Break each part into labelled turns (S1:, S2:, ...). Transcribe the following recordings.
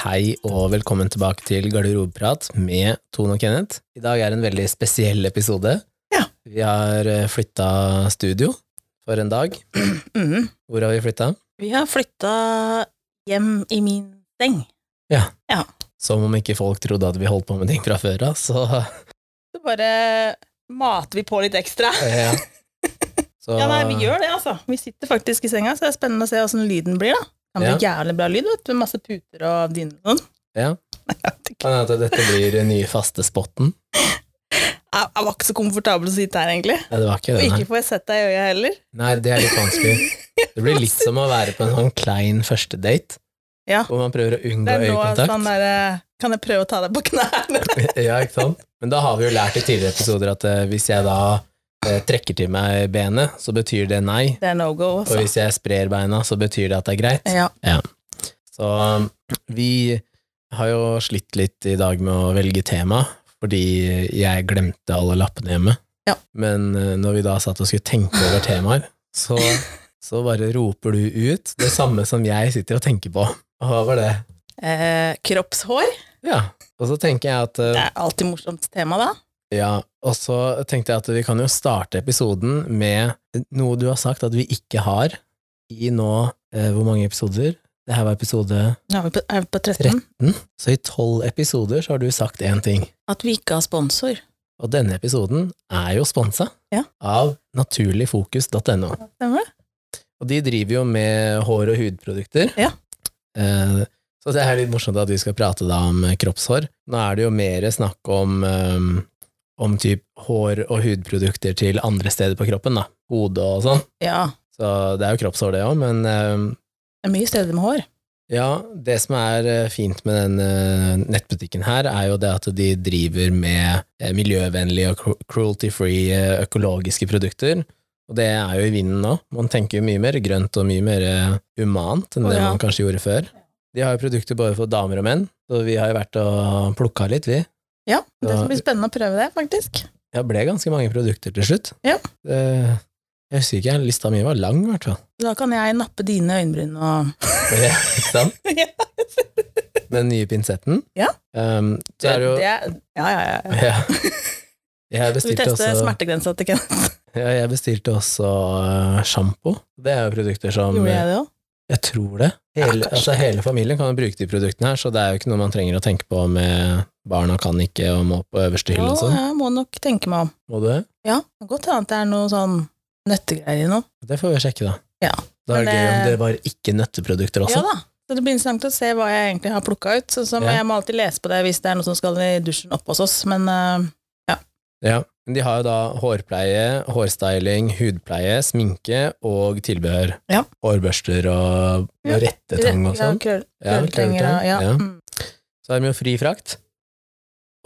S1: Hei og velkommen tilbake til Garderobeprat med Tone og Kenneth. I dag er en veldig spesiell episode.
S2: Ja.
S1: Vi har flytta studio for en dag.
S2: Mhm.
S1: Hvor har vi flytta?
S2: Vi har flytta hjem i min seng.
S1: Som om ikke folk trodde at vi holdt på med ting fra før av, så
S2: Så bare mater vi på litt ekstra.
S1: eh, ja. Så-
S2: Ja, nei, vi gjør det, altså. Vi sitter faktisk i senga, så det er spennende å se åssen lyden blir, da. Kan bli jævlig bra lyd, vet du. Masse puter og dyner og sånn.
S1: Ja.
S2: Nei, jeg vet ikke.
S1: Kan hende at eh, dette blir den nye faste spotten.
S2: Jeg jeg var ikke så komfortabel å sitte her, egentlig.
S1: Nei, det var ikke
S2: Og
S1: det, nei.
S2: ikke får jeg sett deg i øya heller.
S1: nei. Det er litt vanskelig. Det blir litt som å være på en sånn klein førstedate,
S2: Ja.
S1: hvor man prøver å
S2: Det
S1: unngå
S2: er nå
S1: øyekontakt.
S2: sånn derre Kan jeg prøve å ta deg på knærne?
S1: ja, ikke sant? Men da har vi jo lært i tidligere episoder at eh, hvis jeg da eh, trekker til meg benet, så betyr det nei.
S2: Det er no go,
S1: Og
S2: altså.
S1: hvis jeg sprer beina, så betyr det at det er greit.
S2: Ja.
S1: Så um, vi har jo slitt litt i dag med å velge tema, fordi jeg glemte alle lappene hjemme.
S2: Ja.
S1: Men eh, når vi da satt og skulle tenke over temaer, så, så bare roper du ut det samme som jeg sitter og tenker på. Og hva var det?
S2: Eh, kroppshår
S1: Ja. Og så tenker jeg at eh,
S2: det er alltid morsomt tema, da.
S1: Ja, og så tenkte jeg at vi kan jo starte episoden med noe du har sagt at vi ikke har i nå eh, hvor mange episoder? Det her var episode
S2: Nå er vi på, er vi på 13.
S1: 13. Så i tolv episoder så har du sagt én ting.
S2: At vi ikke har sponsor.
S1: Og denne episoden er jo sponsa
S2: Ja.
S1: av naturligfokus.no.
S2: Stemmer det?
S1: Og de driver jo med hår- og hudprodukter.
S2: Ja.
S1: Eh, så det er litt morsomt at vi skal prate da om eh, kroppshår. Nå er det jo mer snakk om, eh, om typ hår- og hudprodukter til andre steder på kroppen, da. Hode og sånn.
S2: Ja.
S1: Så det er jo kroppshår, det òg, men eh,
S2: Det er mye steder med hår.
S1: ja, det som er eh, fint med den eh, nettbutikken her, er jo det at de driver med eh, miljøvennlige og cru- cruelty-free eh, økologiske produkter. Og det er jo i vinden nå. Man tenker jo mye mer grønt og mye mer eh, humant enn
S2: Å,
S1: det
S2: ja.
S1: man kanskje gjorde før. De har jo produkter både for damer og menn, så vi har jo vært og plukka litt, vi.
S2: Ja, det
S1: Ja.
S2: skal bli spennende å prøve det, faktisk.
S1: Det ble ganske mange produkter til slutt.
S2: Ja.
S1: Eh, Jeg husker ikke, lista mi var lang, i hvert fall.
S2: Da kan jeg nappe dine øyenbryn og
S1: Ja, ikke sant?
S2: Ja.
S1: Den nye pinsetten.
S2: Ja.
S1: Um, så er det jo
S2: Det er- Ja, ja, ja. ja.
S1: Ja. Jeg
S2: Vi
S1: bestilte
S2: tester
S1: også,
S2: smertegrensa til Kenneth.
S1: ja, jeg bestilte også eh, sjampo. Det er jo produkter som
S2: Gjorde jeg
S1: Jeg
S2: det òg?
S1: tror det. Hele, altså, hele familien kan jo bruke de produktene her, så det er jo ikke noe man trenger å tenke på med barna kan ikke og må på øverste hylle og
S2: Å,
S1: sånn.
S2: Jeg må nok tenke meg om.
S1: Må du det?
S2: Ja, det kan godt hende at det er noe sånn nøttegreier i nå.
S1: Det får vi sjekke, da.
S2: Ja.
S1: Det var
S2: Men,
S1: gøy om
S2: eh,
S1: det var ikke nøtteprodukter
S2: Ja
S1: også.
S2: da. Så det blir interessant å se hva jeg egentlig har plukka ut. Sånn som
S1: Ja.
S2: Jeg må alltid lese på det hvis det er noe som skal i dusjen oppe hos oss, men eh,
S1: Ja. Men de har jo da hårpleie, hårstyling, hudpleie, sminke og tilbehør.
S2: Ja.
S1: Hårbørster og
S2: Ja.
S1: rettetang og sånn.
S2: krøll-
S1: Ja,
S2: krølltrenger
S1: krølltang,
S2: og ja.
S1: ja.
S2: mm.
S1: Så er det jo fri frakt.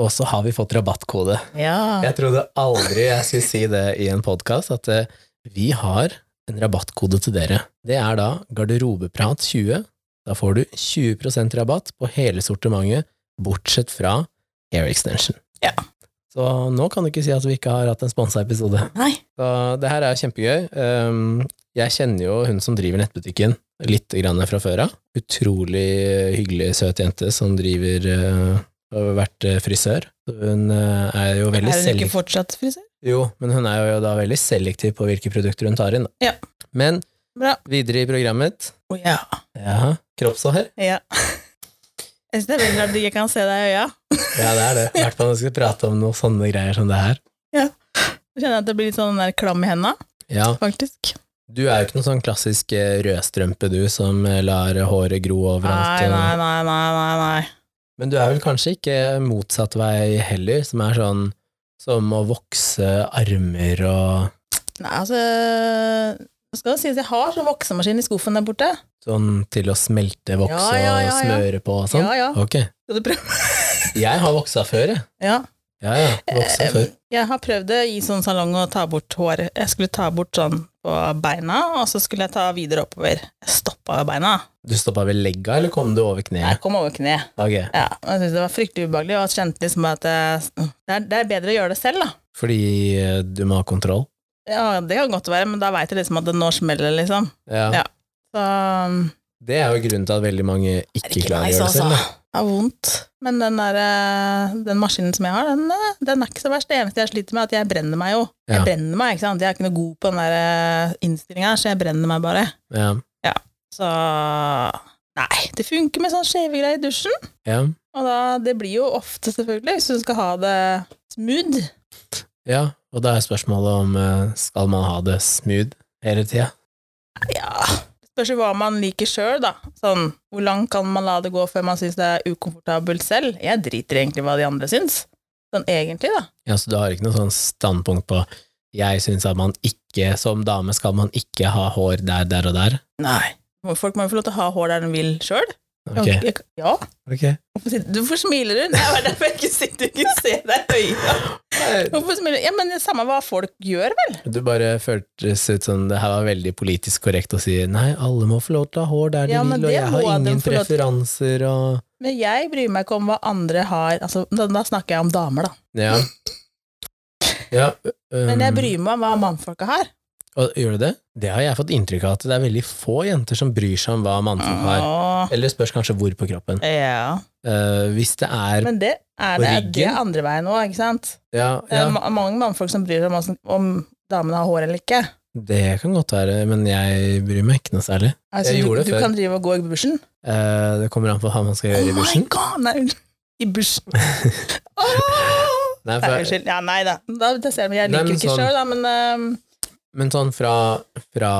S1: Og så har vi fått rabattkode.
S2: ja.
S1: Jeg trodde aldri jeg skulle si det i en podkast, at eh, vi har en rabattkode til dere. Det er da garderobeprat20. Da får du 20 rabatt på hele sortimentet, bortsett fra Air Extension.
S2: Ja.
S1: Så nå kan du ikke si at vi ikke har hatt en sponsa episode.
S2: Nei.
S1: Så det her er jo kjempegøy. Ehm, Jeg kjenner jo hun som driver nettbutikken litt grann fra før av. Utrolig hyggelig, søt jente som driver eh, og har vært eh, frisør. Så Hun eh, er jo veldig
S2: Er hun ikke
S1: selektiv
S2: fortsatt frisør?
S1: Jo, men hun er jo da veldig selektiv på hvilke produkter hun tar inn. da.
S2: Ja.
S1: Men
S2: Bra.
S1: videre i programmet
S2: Å ja.
S1: Ja, kroppshår.
S2: Ja. Jeg synes det er veldig rart at jeg ikke kan se deg i øya.
S1: Ja, det er det. I hvert fall når vi skal prate om noen sånne greier som det her.
S2: Jeg kjenner at det blir litt sånn der klam i henda,
S1: Ja,
S2: faktisk.
S1: Du er jo ikke noen sånn klassisk eh, rødstrømpe, du, som eh, lar håret gro overalt.
S2: Nei,
S1: og-
S2: nei, nei, nei, nei, nei.
S1: Men du er vel kanskje ikke motsatt vei heller, som er sånn som å vokse armer og
S2: Nei, altså det skal jo sies jeg har sånn voksemaskin i skuffen der borte.
S1: sånn til å smelte voks
S2: Ja, ja, ja,
S1: og
S2: ja.
S1: smøre på og sånn?
S2: Ja, ja.
S1: Ok.
S2: Skal du prøve?
S1: Jeg har voksa før, jeg.
S2: Ja.
S1: Ja, ja.
S2: Eh,
S1: Voksa før.
S2: Jeg har prøvd det i sånn salong å ta bort håret. Jeg skulle ta bort sånn på beina, og så skulle jeg ta videre oppover. Jeg stoppa jo beina.
S1: Du stoppa ved legga, eller kom du over
S2: Jeg
S1: kneet?
S2: kom over kne.
S1: Ok.
S2: Ja, og jeg syntes det var fryktelig ubehagelig, og jeg kjente liksom at eh, det er, det er bedre å gjøre det selv, da.
S1: Fordi eh, du må ha kontroll?
S2: Ja, det kan godt være, men da veit jeg liksom at det nå smeller, liksom.
S1: Ja.
S2: Ja. Så um,
S1: Det er jo grunnen til at veldig mange
S2: er
S1: ikke
S2: det ikke
S1: klarer å
S2: nice,
S1: gjøre det
S2: altså.
S1: selv. da.
S2: har vondt. Men den, der, eh, den maskinen som jeg har, den, eh, den er ikke så verst. Det eneste jeg sliter med, er at jeg brenner meg jo. Jeg
S1: Ja.
S2: brenner meg, ikke sant? Jeg er ikke noe god på den der innstillinga, så jeg brenner meg bare.
S1: Ja.
S2: Så Nei, det funker med sånn skjeve greier i dusjen.
S1: Ja.
S2: Og da, det blir jo ofte, selvfølgelig, hvis du skal ha det smooth.
S1: ja. Og da er spørsmålet om eh, skal man ha det smooth hele tida?
S2: Ja Spørs jo hva man liker sjøl, da. Sånn, hvor langt kan man la det gå før man syns det er ukomfortabelt selv? Jeg driter egentlig hva de andre syns. Sånn egentlig, da.
S1: Ja, så du har ikke noe sånn standpunkt på jeg syns at man ikke, som dame, skal man ikke ha hår der, der og der?
S2: Nei. Folk må jo få lov til å ha hår der de vil sjøl.
S1: Ok.
S2: Ja.
S1: ok.
S2: Hvorfor sitter- Hvorfor smiler du? Nei, det er derfor jeg ikke sitter og ikke ser deg i øya. Hvorfor smiler du? Ja, men det er samme hva folk gjør, vel?
S1: Du bare føltes ut som det her var veldig politisk korrekt å si nei, alle må få lov til å ha hår der de
S2: Ja, men
S1: vil, og
S2: det
S1: jeg har
S2: må de
S1: ingen
S2: få lov til.
S1: preferanser og
S2: Men jeg bryr meg ikke om hva andre har altså, da, da snakker jeg om damer, da.
S1: Ja. ja um,
S2: Men jeg bryr meg om hva mannfolka har.
S1: og, Gjør du det? Det har jeg fått inntrykk av, at det er veldig få jenter som bryr seg om hva mannfolk har.
S2: Åh,
S1: Eller spørs kanskje hvor på kroppen.
S2: ja.
S1: Eh, hvis det er
S2: Men det er,
S1: På
S2: det, det
S1: ryggen?
S2: er andre veien òg, ikke sant?
S1: ja,
S2: Det
S1: ja,
S2: er ma- mange mannfolk som bryr seg om, hvordan- om damene har hår eller ikke.
S1: det kan godt være, men jeg bryr meg ikke noe særlig.
S2: Altså,
S1: Jeg gjorde
S2: du,
S1: det
S2: du
S1: før.
S2: kan drive og gå i bushen. Oh
S1: Eh, det kommer an på hva man skal gjøre i bushen.
S2: my god! Nei, unnskyld. I bushen. Åh!
S1: Nei,
S2: Nei,
S1: for,
S2: unnskyld. Ja, nei da. da det ser jeg, jeg
S1: Nei,
S2: liker
S1: men
S2: ikke
S1: Altså, sånn-
S2: sjøl, da, men ehm,
S1: Men sånn fra, fra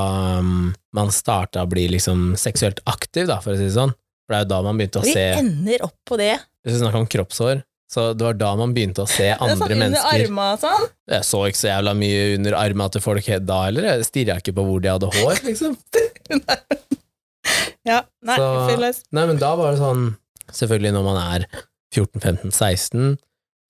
S1: um, man starta å bli liksom seksuelt aktiv, da, for å si det sånn. For det er jo da man begynte å
S2: vi
S1: se
S2: ender opp på det.
S1: Hvis vi snakker om kroppshår, så det var da man begynte å se
S2: Det er
S1: andre
S2: sånn under
S1: mennesker.
S2: arma og sånn.
S1: Jeg så ikke så jævla mye under arma til folk he- da heller. Jeg stirra ikke på hvor de hadde hår, liksom.
S2: Ja, nei,
S1: Så-
S2: fyll løs.
S1: Nei, men da var det sånn Selvfølgelig, når man er 14-15-16,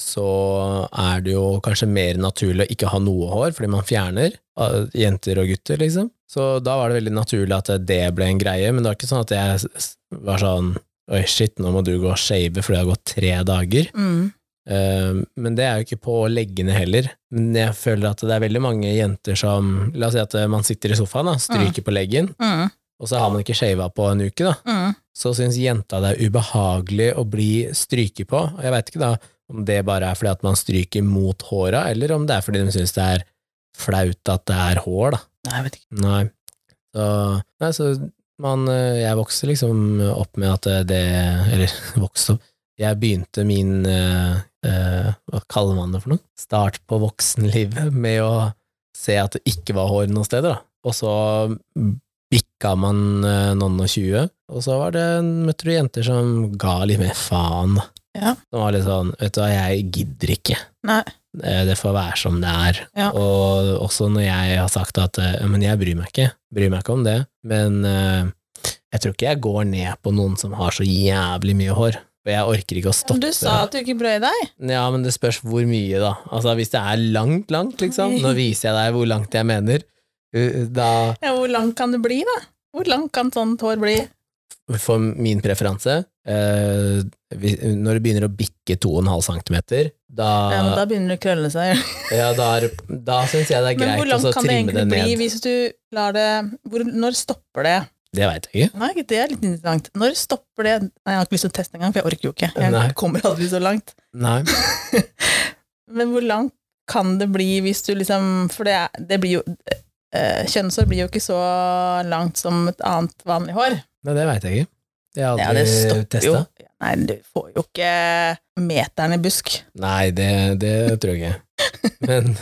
S1: så er det jo kanskje mer naturlig å ikke ha noe hår, fordi man fjerner eh, jenter og gutter, liksom. Så da var det veldig naturlig at det ble en greie, men det var ikke sånn at jeg s- s- var sånn Oi, shit, nå må du gå og shave fordi det har gått tre dager.
S2: Mm.
S1: Eh, Men det er jo ikke på å legge ned heller. Men jeg føler at det er veldig mange jenter som La oss si at man sitter i sofaen, da, stryker på leggen,
S2: Mm.
S1: og så har man ikke shava på en uke, da.
S2: Mm.
S1: Så syns jenta det er ubehagelig å bli stryket på. Og jeg veit ikke da om det bare er fordi at man stryker mot håra, eller om det er fordi de syns det er flaut at det er hår, da.
S2: Nei, jeg vet ikke.
S1: Nei. Så, nei, så man eh, Jeg vokste liksom opp med at det Eller vokste opp Jeg begynte min eh, eh, Hva kaller man det for noe? Start på voksenlivet med å se at det ikke var hår noen steder, da. Og så bikka man eh, noen og tjue, og så var det, møtte du jenter som ga litt mer faen. da.
S2: Ja.
S1: Som var litt sånn Vet du hva, jeg gidder ikke.
S2: Nei.
S1: Eh, Det får være som det er.
S2: Ja.
S1: Og også når jeg har sagt at eh, Men jeg bryr meg ikke. Bryr meg ikke om det. Men eh, jeg tror ikke jeg går ned på noen som har så jævlig mye hår. For jeg orker ikke å stoppe.
S2: Du sa at du ikke brøy deg.
S1: Ja, men det spørs hvor mye, da. Altså, hvis det er langt, langt, liksom. Nå viser jeg deg hvor langt jeg mener. Uh, Da,
S2: Ja, hvor langt kan det bli, da? Hvor langt kan sånt hår bli?
S1: for min preferanse eh, vi- Når det begynner å bikke 2,5 cm,
S2: Ja, men
S1: da,
S2: da begynner det å krølle seg.
S1: ja, da, er- da syns jeg det er
S2: Men
S1: greit å
S2: hvor langt
S1: så
S2: kan det
S1: trimme
S2: egentlig
S1: det
S2: bli
S1: ned.
S2: hvis du lar det hvor, Når stopper det?
S1: Det veit jeg ikke.
S2: Nei, det er litt interessant. Når stopper det Nei, jeg har ikke lyst til å teste engang, for jeg orker jo ikke.
S1: Nei.
S2: Jeg kommer aldri så langt.
S1: Nei.
S2: Men hvor langt kan det bli hvis du liksom For det, er- det blir jo eh, Kjønnshår blir jo ikke så langt som et annet vanlig hår.
S1: Nei, det veit jeg ikke. Det har jeg
S2: Ja, det
S1: aldri
S2: stopper jo.
S1: testa.
S2: Nei, du får jo ikke meteren i busk.
S1: Nei, det, det tror jeg ikke. Men,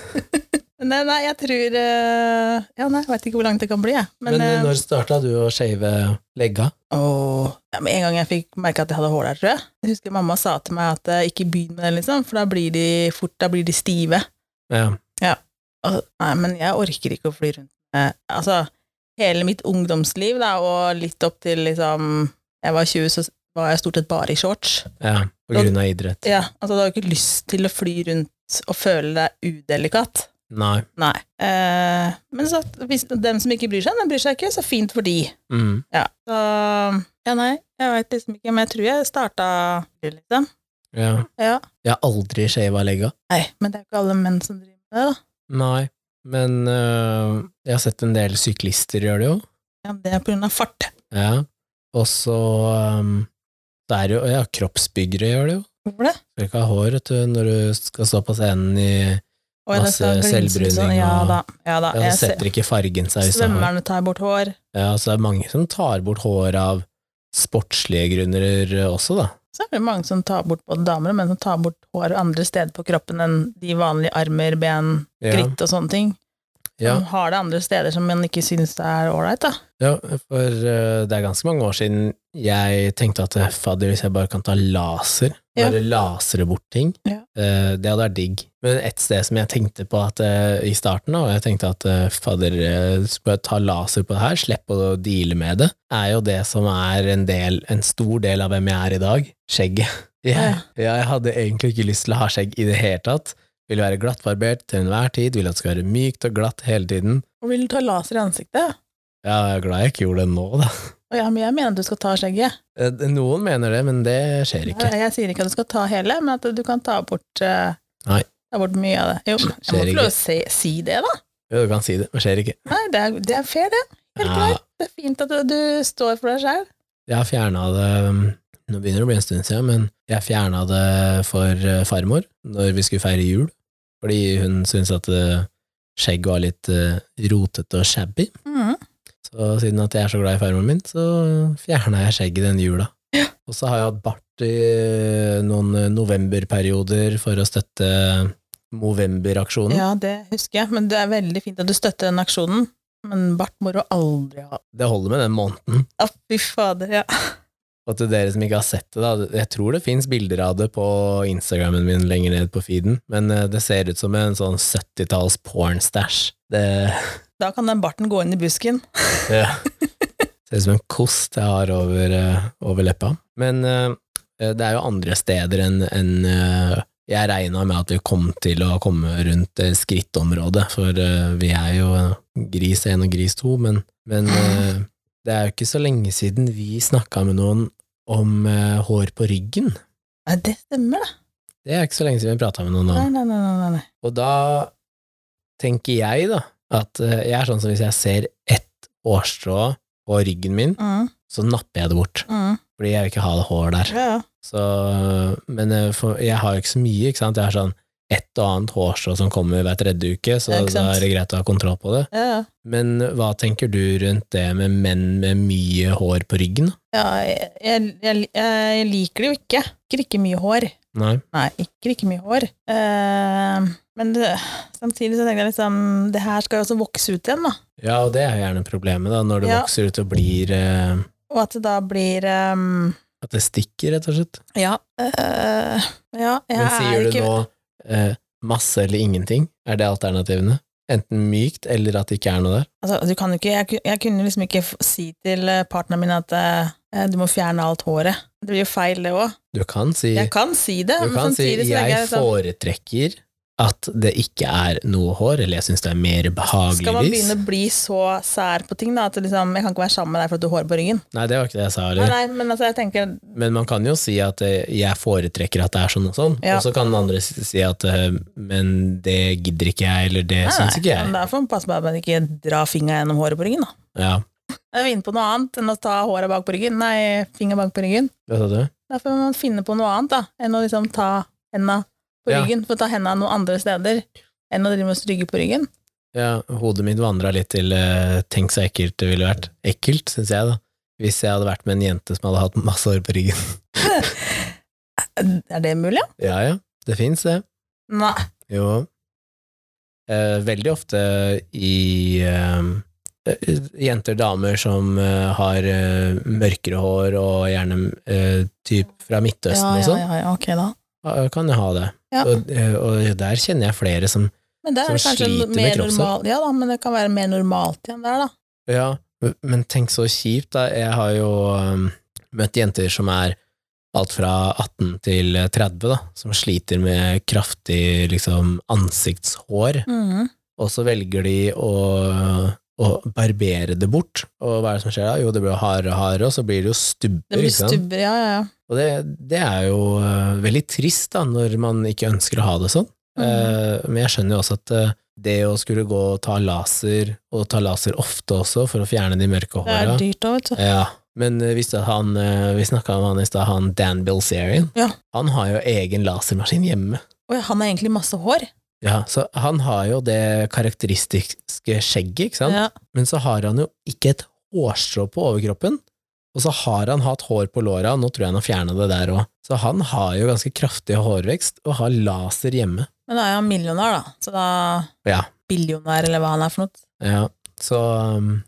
S2: Nei, nei, jeg tror eh, Ja, nei, jeg veit ikke hvor langt det kan bli, jeg. Men,
S1: men
S2: eh,
S1: når starta du å shave legga?
S2: åh, ja, men en gang jeg fikk merke at jeg hadde hår der, tror jeg. Jeg husker mamma sa til meg at eh, ikke begynn med det, liksom, for da blir de fort da blir de stive.
S1: Ja.
S2: Og- Nei, men jeg orker ikke å fly rundt med Altså, hele mitt ungdomsliv, da, og litt opp til liksom Jeg var 20, så var jeg stort sett bare i shorts.
S1: ja på grunn av idrett.
S2: Ja, altså, du har jo ikke lyst til å fly rundt og føle deg udelikat.
S1: Nei.
S2: Nei. Eh, men så, hvis dem som ikke bryr seg, de bryr seg ikke, så fint for de.
S1: Mm.
S2: Ja, så Ja, nei, jeg veit liksom ikke, men jeg tror jeg starta liksom.
S1: Ja.
S2: Ja.
S1: Jeg har aldri shava legga.
S2: Nei, men det er jo ikke alle menn som driver med det, da.
S1: Nei, men øh, jeg har sett en del syklister gjøre det jo.
S2: Ja, det er på grunn av fart.
S1: Ja. Og ehm, så øhm, Det er jo, ja, kroppsbyggere gjør det jo.
S2: Hvorfor det?
S1: Du skal ikke ha hår vet du, når du skal stå på scenen i
S2: Oi, det
S1: Masse
S2: skal glinse litt sånn.
S1: selvbruning
S2: Ja
S1: og-
S2: da. Ja, da.
S1: ja,
S2: Jeg
S1: Så setter ikke fargen seg
S2: ser,
S1: hvis du har
S2: svømmerne tar bort hår.
S1: Ja, så det er mange som tar bort hår av sportslige grunner også, da.
S2: Så er det mange som tar bort både damer og menn som tar bort hår andre steder på kroppen enn de vanlige armer, ben,
S1: Ja,
S2: gritt og sånne ting.
S1: ja,
S2: Som har det andre steder som man ikke syns det er ålreit, da.
S1: ja, for eh, det er ganske mange år siden jeg tenkte at eh, fadder, hvis jeg bare kan ta laser,
S2: Ja.
S1: bare lasere bort ting,
S2: Ja.
S1: eh, det hadde vært digg. Men et sted som jeg tenkte på at, eh, i starten, da, og jeg tenkte at eh, fadder, eh, du skal bare ta laser på det her, slipp å deale med det, er jo det som er en, del, en stor del av hvem jeg er i dag, skjegget. Jeg, jeg hadde egentlig ikke lyst til å ha skjegg i det hele tatt. Vil være glattbarbert til enhver tid, vil at det skal være mykt og glatt hele tiden.
S2: Og vil du ta laser i ansiktet?
S1: Ja, jeg er glad jeg ikke gjorde det nå, da.
S2: Å ja, men jeg mener at du skal ta skjegget.
S1: Eh, Noen mener det, men det skjer ikke.
S2: Nei, Jeg sier ikke at du skal ta hele, men at du kan ta bort eh,
S1: Nei.
S2: Ta bort mye av det. Jo, jeg må
S1: Skjer
S2: få lov å si, si det, da.
S1: Jo, du kan si det, men skjer ikke.
S2: Nei, det er, det er fair, det. Helt
S1: Ja,
S2: greit. Det er fint at du, du står for deg sjæl.
S1: jeg har fjerna det um, Nå begynner det å bli en stund siden, men jeg fjerna det for eh, farmor når vi skulle feire jul, fordi hun syntes at eh, skjegg var litt eh, rotete og shabby.
S2: Mm.
S1: Så siden at jeg er så glad i farmoren min, så fjerna jeg skjegget den jula. Og så har jeg hatt bart i eh, noen novemberperioder for å støtte eh, Movember-aksjonen.
S2: Ja, det husker jeg, men det er veldig fint at du støtter den aksjonen. Men bart må du aldri ha.
S1: Det holder med den måneden.
S2: Å, fy fader, ja.
S1: Og til dere som ikke har sett det, da, jeg tror det fins bilder av det på Instagrammen min lenger ned på feeden, men eh, det ser ut som en sånn 70-talls pornstæsj. Det
S2: Da kan den barten gå inn i busken.
S1: ja. ser ut som en kost jeg har over, eh, over leppa. Men eh, det er jo andre steder enn enn, eh, jeg regna med at vi kom til å komme rundt eh, skrittområdet, for eh, vi er jo eh, gris 1 og gris 2, men, men eh, det er jo ikke så lenge siden vi snakka med noen om eh, hår på ryggen.
S2: Nei, det stemmer, da.
S1: Det er ikke så lenge siden vi prata med noen
S2: Nei,
S1: om.
S2: nei, nei, nei, nei.
S1: Og da tenker jeg, da, at eh, jeg er sånn som hvis jeg ser ett hårstrå på ryggen min,
S2: Mm,
S1: så napper jeg det bort.
S2: mm.
S1: Fordi jeg vil ikke ha det hår der.
S2: Ja, ja.
S1: Så, men eh, for, jeg har jo ikke så mye, ikke sant. Jeg har sånn ett og annet hårstrå som kommer hver tredje uke, så
S2: Ja, ikke
S1: da
S2: sant?
S1: er det greit å ha kontroll på det.
S2: ja, ja.
S1: Men hva tenker du rundt det med menn med mye hår på ryggen? da?
S2: ja jeg, jeg, jeg, jeg liker det jo ikke. Ikke ikke mye hår.
S1: Nei.
S2: Nei, ikke ikke mye hår. Eh, men det, samtidig så tenker jeg liksom, det her skal jo også vokse ut igjen, da.
S1: Ja, og det er jo gjerne problemet, da, når det
S2: Ja.
S1: vokser ut og blir eh,
S2: Og at det da blir ehm,
S1: At det stikker, rett og slett.
S2: Ja. eh, ja, jeg
S1: Men sier
S2: er
S1: du
S2: ikke
S1: nå eh, masse eller ingenting? Er det alternativene? Enten mykt, eller at det ikke er noe der?
S2: Altså, du kan jo ikke, jeg, ku- jeg kunne liksom ikke f- si til eh, partneren min at eh, du må fjerne alt håret. Det blir jo feil, det òg.
S1: Du kan si,
S2: Jeg kan si det,
S1: du
S2: men
S1: kan si
S2: samtidig så tenker
S1: jeg
S2: jeg sånn
S1: foretrekker at det ikke er noe hår, eller jeg syns det er mer
S2: Skal man
S1: behageligvis.
S2: begynne å bli så sær på ting, da? At liksom, jeg kan ikke være sammen med deg for at du har hår på ryggen.
S1: Nei, det var ikke det jeg sa
S2: Nei,
S1: heller.
S2: nei, men altså, jeg tenker
S1: Men man kan jo si at eh, jeg foretrekker at det er sånn og sånn,
S2: Ja.
S1: og så kan den andre si si at eh, men det gidder ikke jeg, eller det
S2: nei,
S1: syns
S2: nei,
S1: ikke jeg.
S2: men Da får man passe på at man ikke drar fingra gjennom håret på ryggen, da.
S1: Ja,
S2: Er vi inne på noe annet enn å ta håret bak på ryggen? Nei, fingeren bak på ryggen.
S1: hva sa du?
S2: Da får man finne på noe annet, da, enn å liksom ta henda på
S1: Ja.
S2: ryggen. For å ta henda noen andre steder enn å drive med å stryke på ryggen.
S1: Ja, hodet mitt vandra litt til eh, tenk så ekkelt det ville vært. Ekkelt, syns jeg, da. Hvis jeg hadde vært med en jente som hadde hatt masse hår på ryggen.
S2: Er det mulig?
S1: Ja ja, det fins det.
S2: Nei.
S1: Jo. Eh, veldig ofte i eh, eh, jenter, damer som eh, har eh, mørkere hår og gjerne eh, typ fra Midtøsten og sånn,
S2: ja, ja, ok da.
S1: eh, kan jo ha det.
S2: Ja.
S1: Og, eh, og der kjenner jeg flere som
S2: Men det er
S1: Som
S2: kanskje
S1: sliter med
S2: mer
S1: kroppsår.
S2: normalt Ja da, men det kan være mer normalt igjen der, da.
S1: Ja, men tenk så kjipt da. Jeg har jo um, møtt jenter som er alt fra 18 til 30 da, som sliter med kraftig liksom, ansiktshår,
S2: Mhm.
S1: og så velger de å, å barbere det bort. Og hva er det som skjer da? Jo, det blir jo hardere og hardere, og så blir det jo stubber.
S2: Det blir
S1: ikke sant?
S2: stubber, ja, ja, ja.
S1: Og det, det er jo eh, veldig trist da, når man ikke ønsker å ha det sånn.
S2: Mhm.
S1: Eh, men jeg skjønner jo også at eh, det å skulle gå og ta laser, og ta laser ofte også for å fjerne de mørke
S2: Det er
S1: håra
S2: dyrt òg, vet du.
S1: ja, Men eh, hvis det- han, eh, vi snakka om han i stad, han Dan Bilzerian.
S2: Ja.
S1: Han har jo egen lasermaskin hjemme.
S2: Oi, han har egentlig masse hår.
S1: Ja, så han har jo det karakteristiske skjegget, ikke sant?
S2: Ja.
S1: Men så har han jo ikke et hårstrå på overkroppen. Og så har han hatt hår på låra, nå tror jeg han har fjerna det der òg. Så han har jo ganske kraftig hårvekst, og har laser hjemme.
S2: Men da er han millionær, da. Så da
S1: Ja.
S2: Billionær, eller hva han er for noe.
S1: Ja, så um,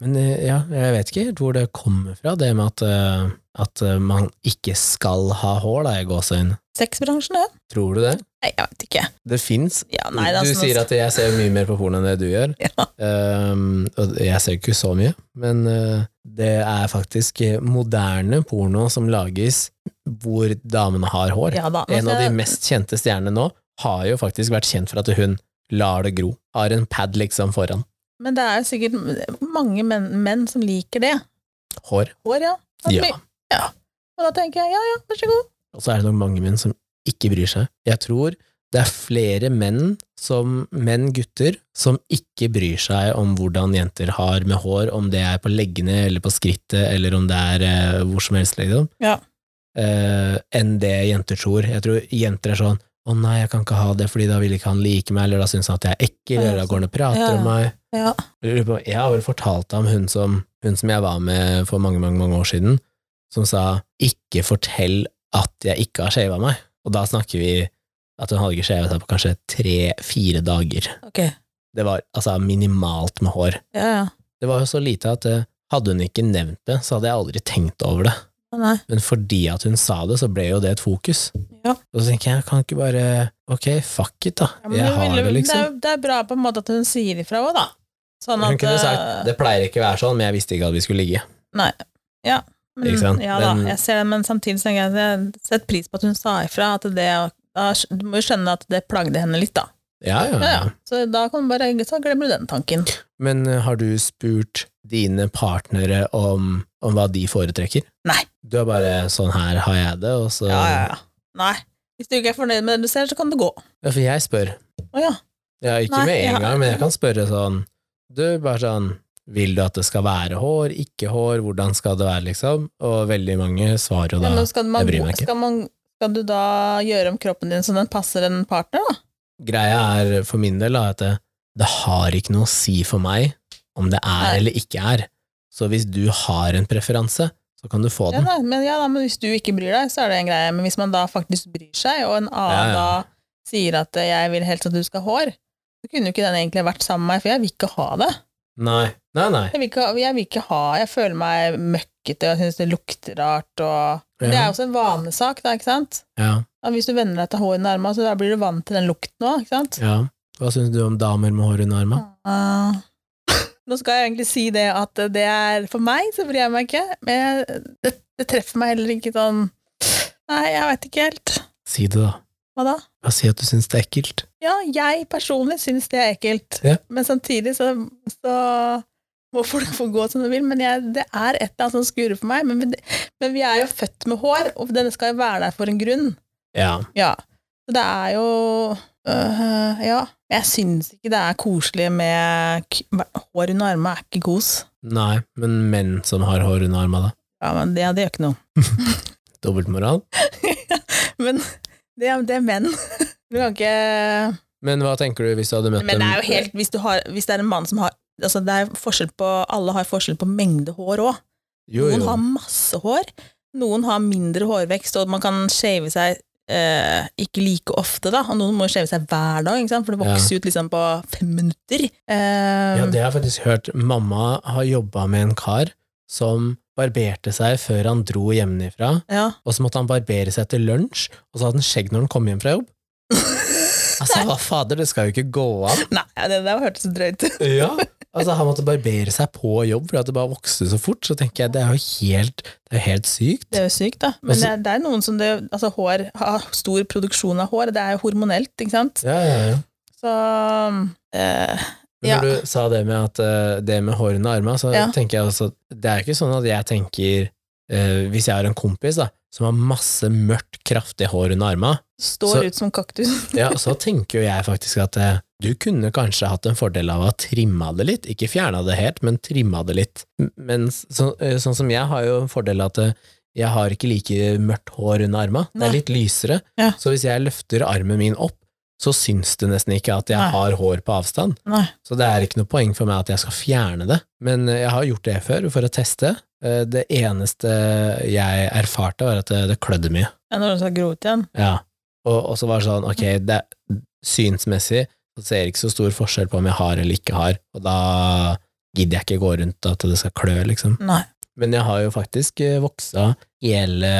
S1: Men eh, ja, jeg vet ikke helt hvor det kommer fra, det med at, eh, at eh, man ikke skal ha hår, da, i gåseøynene.
S2: Sexbransjen, det?
S1: Tror du det?
S2: Nei, jeg vet ikke.
S1: Det fins.
S2: Ja,
S1: Du
S2: nei, det er sånn-
S1: sier at jeg ser mye mer på porno enn det du gjør.
S2: ja.
S1: Um, og jeg ser ikke så mye, men uh, det er faktisk moderne porno som lages hvor damene har hår.
S2: ja altså da. Nå
S1: En av
S2: ser
S1: de
S2: jeg-
S1: mest kjente stjernene nå har jo faktisk vært kjent for at hun lar det gro. Har en pad liksom foran.
S2: Men det er jo sikkert mange menn, menn som liker det.
S1: Hår.
S2: Hår, ja. Det er
S1: Ja.
S2: mye- ja. Og da tenker jeg ja, ja, vær så god.
S1: Og så er det nok mange menn som ikke bryr seg. Jeg tror det er flere menn, som, menn gutter, som ikke bryr seg om hvordan jenter har med hår, om det er på leggene eller på skrittet, eller om det er eh, hvor som helst, liksom,
S2: Ja.
S1: eh, enn det jenter tror. Jeg tror jenter er sånn å nei, jeg kan ikke ha det, fordi da vil ikke han like meg, eller da syns han at jeg er ekkel, eller da går han og prater
S2: Ja, ja.
S1: om meg.
S2: Ja.
S1: Jeg lurer på- jeg har vel fortalt deg om hun som, hun som jeg var med for mange, mange, mange år siden, som sa 'ikke fortell at jeg ikke har shava meg'. Og da snakker vi at hun hadde ikke shava seg på kanskje tre-fire dager.
S2: Ok.
S1: Det var altså minimalt med hår.
S2: Ja, ja.
S1: Det var jo så lite at eh, hadde hun ikke nevnt det, så hadde jeg aldri tenkt over det.
S2: Å, Nei.
S1: Men fordi at hun sa det, så ble jo det et fokus.
S2: Ja.
S1: Og så tenker jeg, kan ikke bare Ok, fuck it, da.
S2: Ja, men
S1: Jeg
S2: hun
S1: har
S2: ville-
S1: det, liksom.
S2: Det er, det er bra på en måte at hun sier ifra òg, da. Sånn
S1: Hun
S2: at
S1: kunne
S2: eh,
S1: sagt 'det pleier ikke å være sånn', men jeg visste ikke at vi skulle ligge.
S2: men,
S1: ikke sant?
S2: mm, Ja da,
S1: Den-
S2: jeg ser det, men samtidig så tenker jeg at jeg setter pris på at hun sa ifra. At det, da, du må jo skjønne at det plagde henne litt, da.
S1: Ja, ja,
S2: Ja,
S1: ja.
S2: ja. Så da kan du bare så glemmer du den tanken.
S1: Men eh, har du spurt dine partnere om, om hva de foretrekker?
S2: Nei.
S1: Du er bare sånn her har jeg det, og så
S2: Ja, ja, ja. Nei. Hvis du ikke er fornøyd med det du ser, så kan du gå.
S1: Ja, for jeg spør.
S2: Å ja.
S1: Ja, ikke
S2: Nei,
S1: med en
S2: ja.
S1: gang, men jeg kan spørre sånn Du, bare sånn Vil du at det skal være hår, ikke hår, hvordan skal det være, liksom? Og veldig mange svarer jo
S2: ja
S1: da
S2: men skal, man,
S1: jeg bryr meg ikke.
S2: skal, man, skal du da gjøre om kroppen din så den passer en partner, da?
S1: Greia er for min del da, at det, det har ikke noe å si for meg om det er
S2: Nei.
S1: eller ikke er. Så hvis du har en preferanse, så kan du få
S2: Ja,
S1: den.
S2: da. Men, ja, da, men hvis du ikke bryr deg, så er det en greie. Men hvis man da faktisk bryr seg, og en
S1: Ja,
S2: annen
S1: ja.
S2: da sier at eh, 'jeg vil helst at du skal ha hår', så kunne jo ikke den egentlig vært sammen med meg, for jeg vil ikke ha det.
S1: Nei. Nei, nei.
S2: Jeg vil ikke, jeg vil ikke ha Jeg føler meg møkkete, og jeg syns det lukter rart, og
S1: Ja.
S2: Det er jo også en vanesak, da, ikke sant?
S1: Ja.
S2: Ja, hvis du venner deg til hår under armene, så da blir du vant til den lukten òg, ikke sant?
S1: Ja. Hva syns du om damer med hår under armen?
S2: Ah. Nå skal jeg egentlig si det at det er for meg, så bryr jeg meg ikke, men jeg, det, det treffer meg heller ikke sånn Nei, jeg veit ikke helt.
S1: Si det, da.
S2: Hva da?
S1: Bare si at du syns det er ekkelt.
S2: Ja, jeg personlig syns det er ekkelt,
S1: Ja.
S2: men samtidig så, så må folk få gå som de vil. Men jeg, det er et eller annet som skurrer for meg. Men, vi- men vi er jo født med hår, og den skal jo være der for en grunn.
S1: Ja.
S2: Ja. Så det er jo øh, Ja. Jeg syns ikke det er koselig med k Hår under armene er ikke kos.
S1: Nei, men menn som har hår under armen, da?
S2: Ja, men det, det gjør ikke noe.
S1: Dobbeltmoral?
S2: Men det, er- det er menn. Du kan ikke
S1: Men hva tenker du hvis du hadde møtt
S2: Men det er jo
S1: dem
S2: helt Hvis, du har, hvis det er en mann som har altså det er forskjell på, Alle har forskjell på mengde hår òg.
S1: Jo,
S2: Noen
S1: jo.
S2: har masse hår. Noen har mindre hårvekst, og man kan shave seg eh, ikke like ofte, da. Og noen må jo shave seg hver dag, ikke sant? for det vokser ut liksom på fem minutter. Eh,
S1: Ja, det har jeg faktisk hørt. Mamma har jobba med en kar som barberte seg før han dro hjemmefra,
S2: ja.
S1: og så måtte han barbere seg til lunsj, og så hadde han skjegg når han kom hjem fra jobb. Altså, hva fader, det skal jo ikke gå an!
S2: Nei, det der hørtes drøyt ut.
S1: Ja, altså han måtte barbere seg på jobb fordi at det bare vokste så fort, så tenker jeg det er jo helt, det er jo helt sykt.
S2: Det er jo sykt, da. Men
S1: Altså-
S2: det, er, det er noen som det, altså hår, har stor produksjon av hår. Det er jo hormonelt, ikke sant?
S1: Ja, ja, ja.
S2: Så eh,
S1: Men når du sa det med, at, eh, det med hår under armene, så
S2: Ja.
S1: tenker jeg også at det er ikke sånn at jeg tenker eh, Hvis jeg har en kompis da, som har masse mørkt, kraftig hår under armene,
S2: Står
S1: Så-
S2: ut som kaktus.
S1: Ja, og så tenker jo jeg faktisk at eh, du kunne kanskje hatt en fordel av å ha trimma det litt, ikke fjerna det helt, men trimma det litt. M- Men så, eh, sånn som jeg har jo en fordel av at eh, jeg har ikke like mørkt hår under arma, det
S2: Nei.
S1: er litt lysere,
S2: Ja.
S1: så hvis jeg løfter armen min opp, så syns det nesten ikke at jeg
S2: Nei.
S1: har hår på avstand.
S2: Nei.
S1: Så det er ikke noe poeng for meg at jeg skal fjerne det. Men eh, jeg har gjort det før for å teste. Eh, Det eneste jeg erfarte, var at det, det klødde mye.
S2: Ja, når den skal gro ut igjen.
S1: Ja. Og, og så var det sånn, ok, det, synsmessig så ser jeg ikke så stor forskjell på om jeg har eller ikke har, og da gidder jeg ikke gå rundt at det skal klø, liksom.
S2: Nei.
S1: Men jeg har jo faktisk eh, voksa hele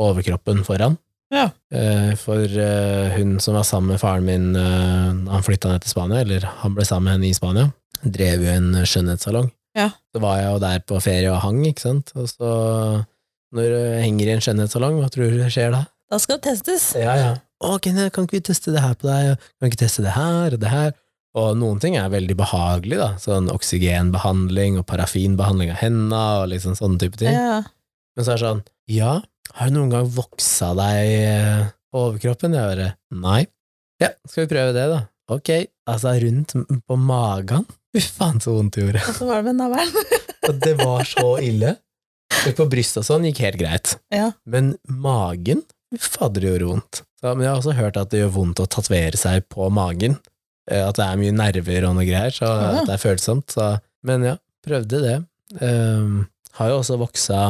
S1: overkroppen foran.
S2: Ja.
S1: Eh, For eh, hun som var sammen med faren min eh, da han flytta ned til Spania, eller han ble sammen med henne i Spania, drev jo en skjønnhetssalong.
S2: Ja.
S1: Så var jeg jo der på ferie og hang, ikke sant. Og så, når du henger i en skjønnhetssalong, hva tror du skjer da?
S2: Da skal det testes.
S1: Ja, ja. Å, Kenneth, kan ikke vi teste det her på deg? Kan vi ikke teste det her og det her? Og noen ting er veldig behagelig, da. Sånn oksygenbehandling og parafinbehandling av hendene og liksom sånne type ting.
S2: Ja.
S1: Men så er det sånn, ja, har du noen gang voksa deg eh, på overkroppen? Jeg bare, nei. Ja, skal vi prøve det da? Ok, altså rundt m- på magen. Fy faen så vondt det gjorde.
S2: Og så var det med navlen.
S1: Og det var så ille. Og på brystet og sånn gikk helt greit.
S2: Ja.
S1: Men magen, fy fader det gjorde vondt. Så, men jeg har også hørt at det gjør vondt å tatovere seg på magen. Eh, At det er mye nerver og noe greier, så
S2: Ja.
S1: at det er følsomt. Så. Men ja, prøvde det. Ehm, har jo også voksa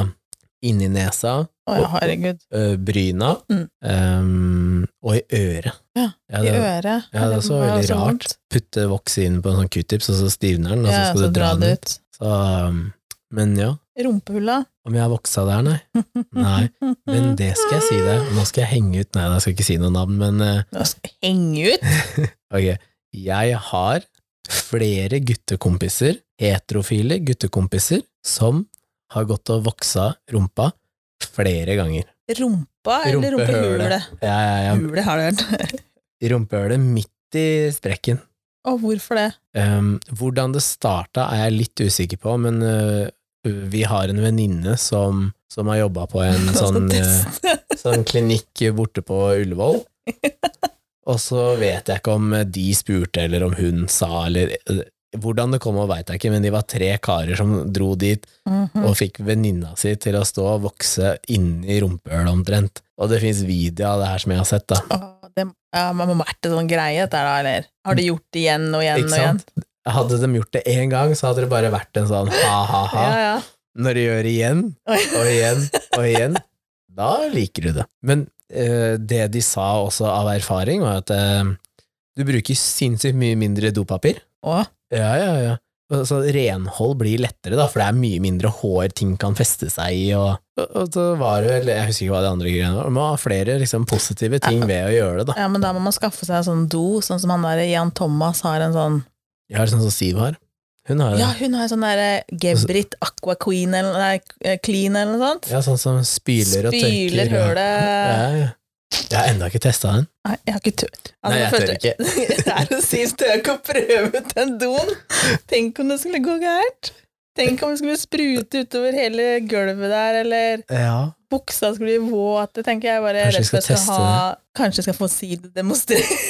S1: inni nesa,
S2: Å, ja, herregud.
S1: ø, bryna
S2: Mm.
S1: ehm, og i øret.
S2: Ja, I
S1: det-
S2: øret.
S1: ja, det er også veldig
S2: så
S1: rart.
S2: vondt.
S1: Putte voks inn på en sånn q-tips, og så stivner den, og så
S2: Ja,
S1: skal du dra den ut.
S2: ut.
S1: Så, ehm, men ja,
S2: Rumpehulla.
S1: om jeg har voksa der, nei. Nei, Men det skal jeg si deg. Nå skal jeg henge ut Nei, da skal jeg ikke si noe navn, men eh,
S2: Nå skal jeg henge ut!
S1: ok. Jeg har flere guttekompiser, heterofile guttekompiser, som har gått og voksa rumpa flere ganger.
S2: Rumpa eller
S1: Rumpehølet.
S2: rumpehulet?
S1: Ja, ja,
S2: Hulet har du hørt.
S1: ja. Rumpehølet midt i sprekken.
S2: Og hvorfor det?
S1: Um, hvordan det starta er jeg litt usikker på, men uh, vi har en venninne som, som har jobba på en
S2: Nå skal
S1: sånn, uh,
S2: testen.
S1: sånn klinikk borte på Ullevål. Og så vet jeg ikke om de spurte, eller om hun sa, eller uh, Hvordan det kom, veit jeg ikke, men de var tre karer som dro dit
S2: Mhm.
S1: og fikk venninna si til å stå og vokse inni rumpehølet omtrent. Og det fins video av det her som jeg har sett, da.
S2: Å, det, ja, men må vært en sånn greie, dette her da, eller? Har de gjort det igjen og igjen
S1: Ikke
S2: og igjen?
S1: sant? Hadde de gjort det én gang, så hadde det bare vært en sånn ha-ha-ha.
S2: Ja, ja.
S1: Når de gjør det igjen,
S2: Oi.
S1: og igjen og igjen, da liker du det. Men eh, det de sa også av erfaring, var at eh, du bruker sinnssykt mye mindre dopapir.
S2: Å,
S1: Ja, ja, ja. Og Så renhold blir lettere, da, for det er mye mindre hår ting kan feste seg i. Og, og, og så var det vel, jeg husker ikke hva de andre greiene var, men det var flere liksom, positive ting ved å gjøre det. da.
S2: ja, men da må man skaffe seg en sånn do, sånn som han der Jan Thomas har en sånn
S1: Jeg har sånn som Siv har. Hun har
S2: Ja,
S1: ja.
S2: hun har en sånn derre Gebrit Aqua Queen eller nei, eh, Clean eller noe sånt.
S1: ja, sånn som spyler og tørker.
S2: Spyler
S1: og-
S2: hølet
S1: Ja, ja. Jeg har enda ikke testa den.
S2: Nei, jeg har ikke tør.
S1: Nei, jeg tør ikke.
S2: Det er å si tør jeg ikke å prøve ut den doen. Tenk om det skulle gå gærent. Tenk om det skulle sprute utover hele gulvet der, eller
S1: Ja.
S2: buksa skulle bli våt. Det tenker jeg bare
S1: Kanskje
S2: rett
S1: vi
S2: og slett
S1: skal
S2: skal ha Kanskje jeg skal få sidedemonstrere.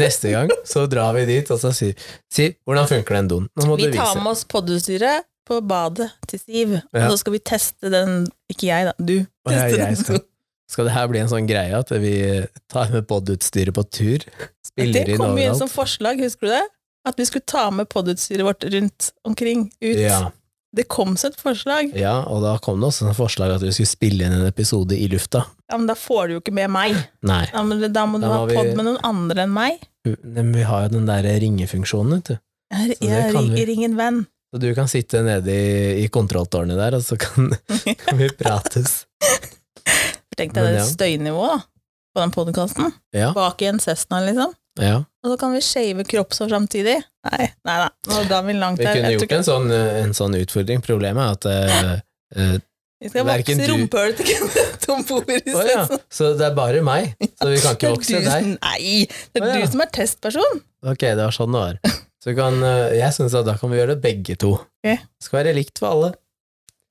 S1: Neste gang så drar vi dit og så sier Siv, hvordan funker den doen? Nå må
S2: Vi
S1: du
S2: tar
S1: vise.
S2: med oss poddestyret på badet til Siv,
S1: Ja.
S2: og så skal vi teste den Ikke jeg, da. Du.
S1: Å, ja,
S2: Teste
S1: jeg
S2: den
S1: skal.
S2: doen.
S1: Skal det her bli en sånn greie at vi tar med podutstyret på tur?
S2: Det
S1: Spiller inn
S2: kom jo inn
S1: overalt?
S2: som forslag, husker du det? At vi skulle ta med poddeutstyret vårt rundt omkring. Ut.
S1: Ja,
S2: Det kom som et forslag.
S1: ja, og da kom det også et forslag at vi skulle spille inn en episode i lufta.
S2: Ja, men da får du jo ikke med meg.
S1: Nei,
S2: Ja, men da må du
S1: Da må
S2: ha
S1: vi-
S2: podd med noen andre enn meg.
S1: men vi har jo den der ringefunksjonen, vet du.
S2: Jeg,
S1: det
S2: jeg,
S1: kan vi.
S2: ring en venn.
S1: Så du kan sitte nede i, i kontrolltårnet der, og så kan, kan vi prates.
S2: Tenk deg
S1: Men
S2: det
S1: ja.
S2: støynivået da, på den podkasten.
S1: Ja.
S2: Bak i en Cessna, liksom.
S1: Ja.
S2: Og så kan vi shave kroppshår samtidig. Nei, nei, nei. Nå drar vi langt
S1: Vi
S2: her.
S1: kunne
S2: Jeg tror
S1: gjort
S2: ikke-
S1: en sånn, eh, en sånn utfordring. Problemet er at eh, eh,
S2: Vi skal
S1: Verken
S2: vokse
S1: du-
S2: rumpehullet til Kenneth Tom Boer i
S1: Å ja,
S2: Cessna.
S1: så det er bare meg? Så vi kan
S2: Det
S1: ikke
S2: er
S1: vokse
S2: du
S1: deg?
S2: som- Nei, det er
S1: Å ja.
S2: du som er testperson.
S1: Ok, det var sånn det var. Så vi kan, eh, jeg syns at da kan vi gjøre det begge to.
S2: Ok.
S1: Det skal være likt for alle.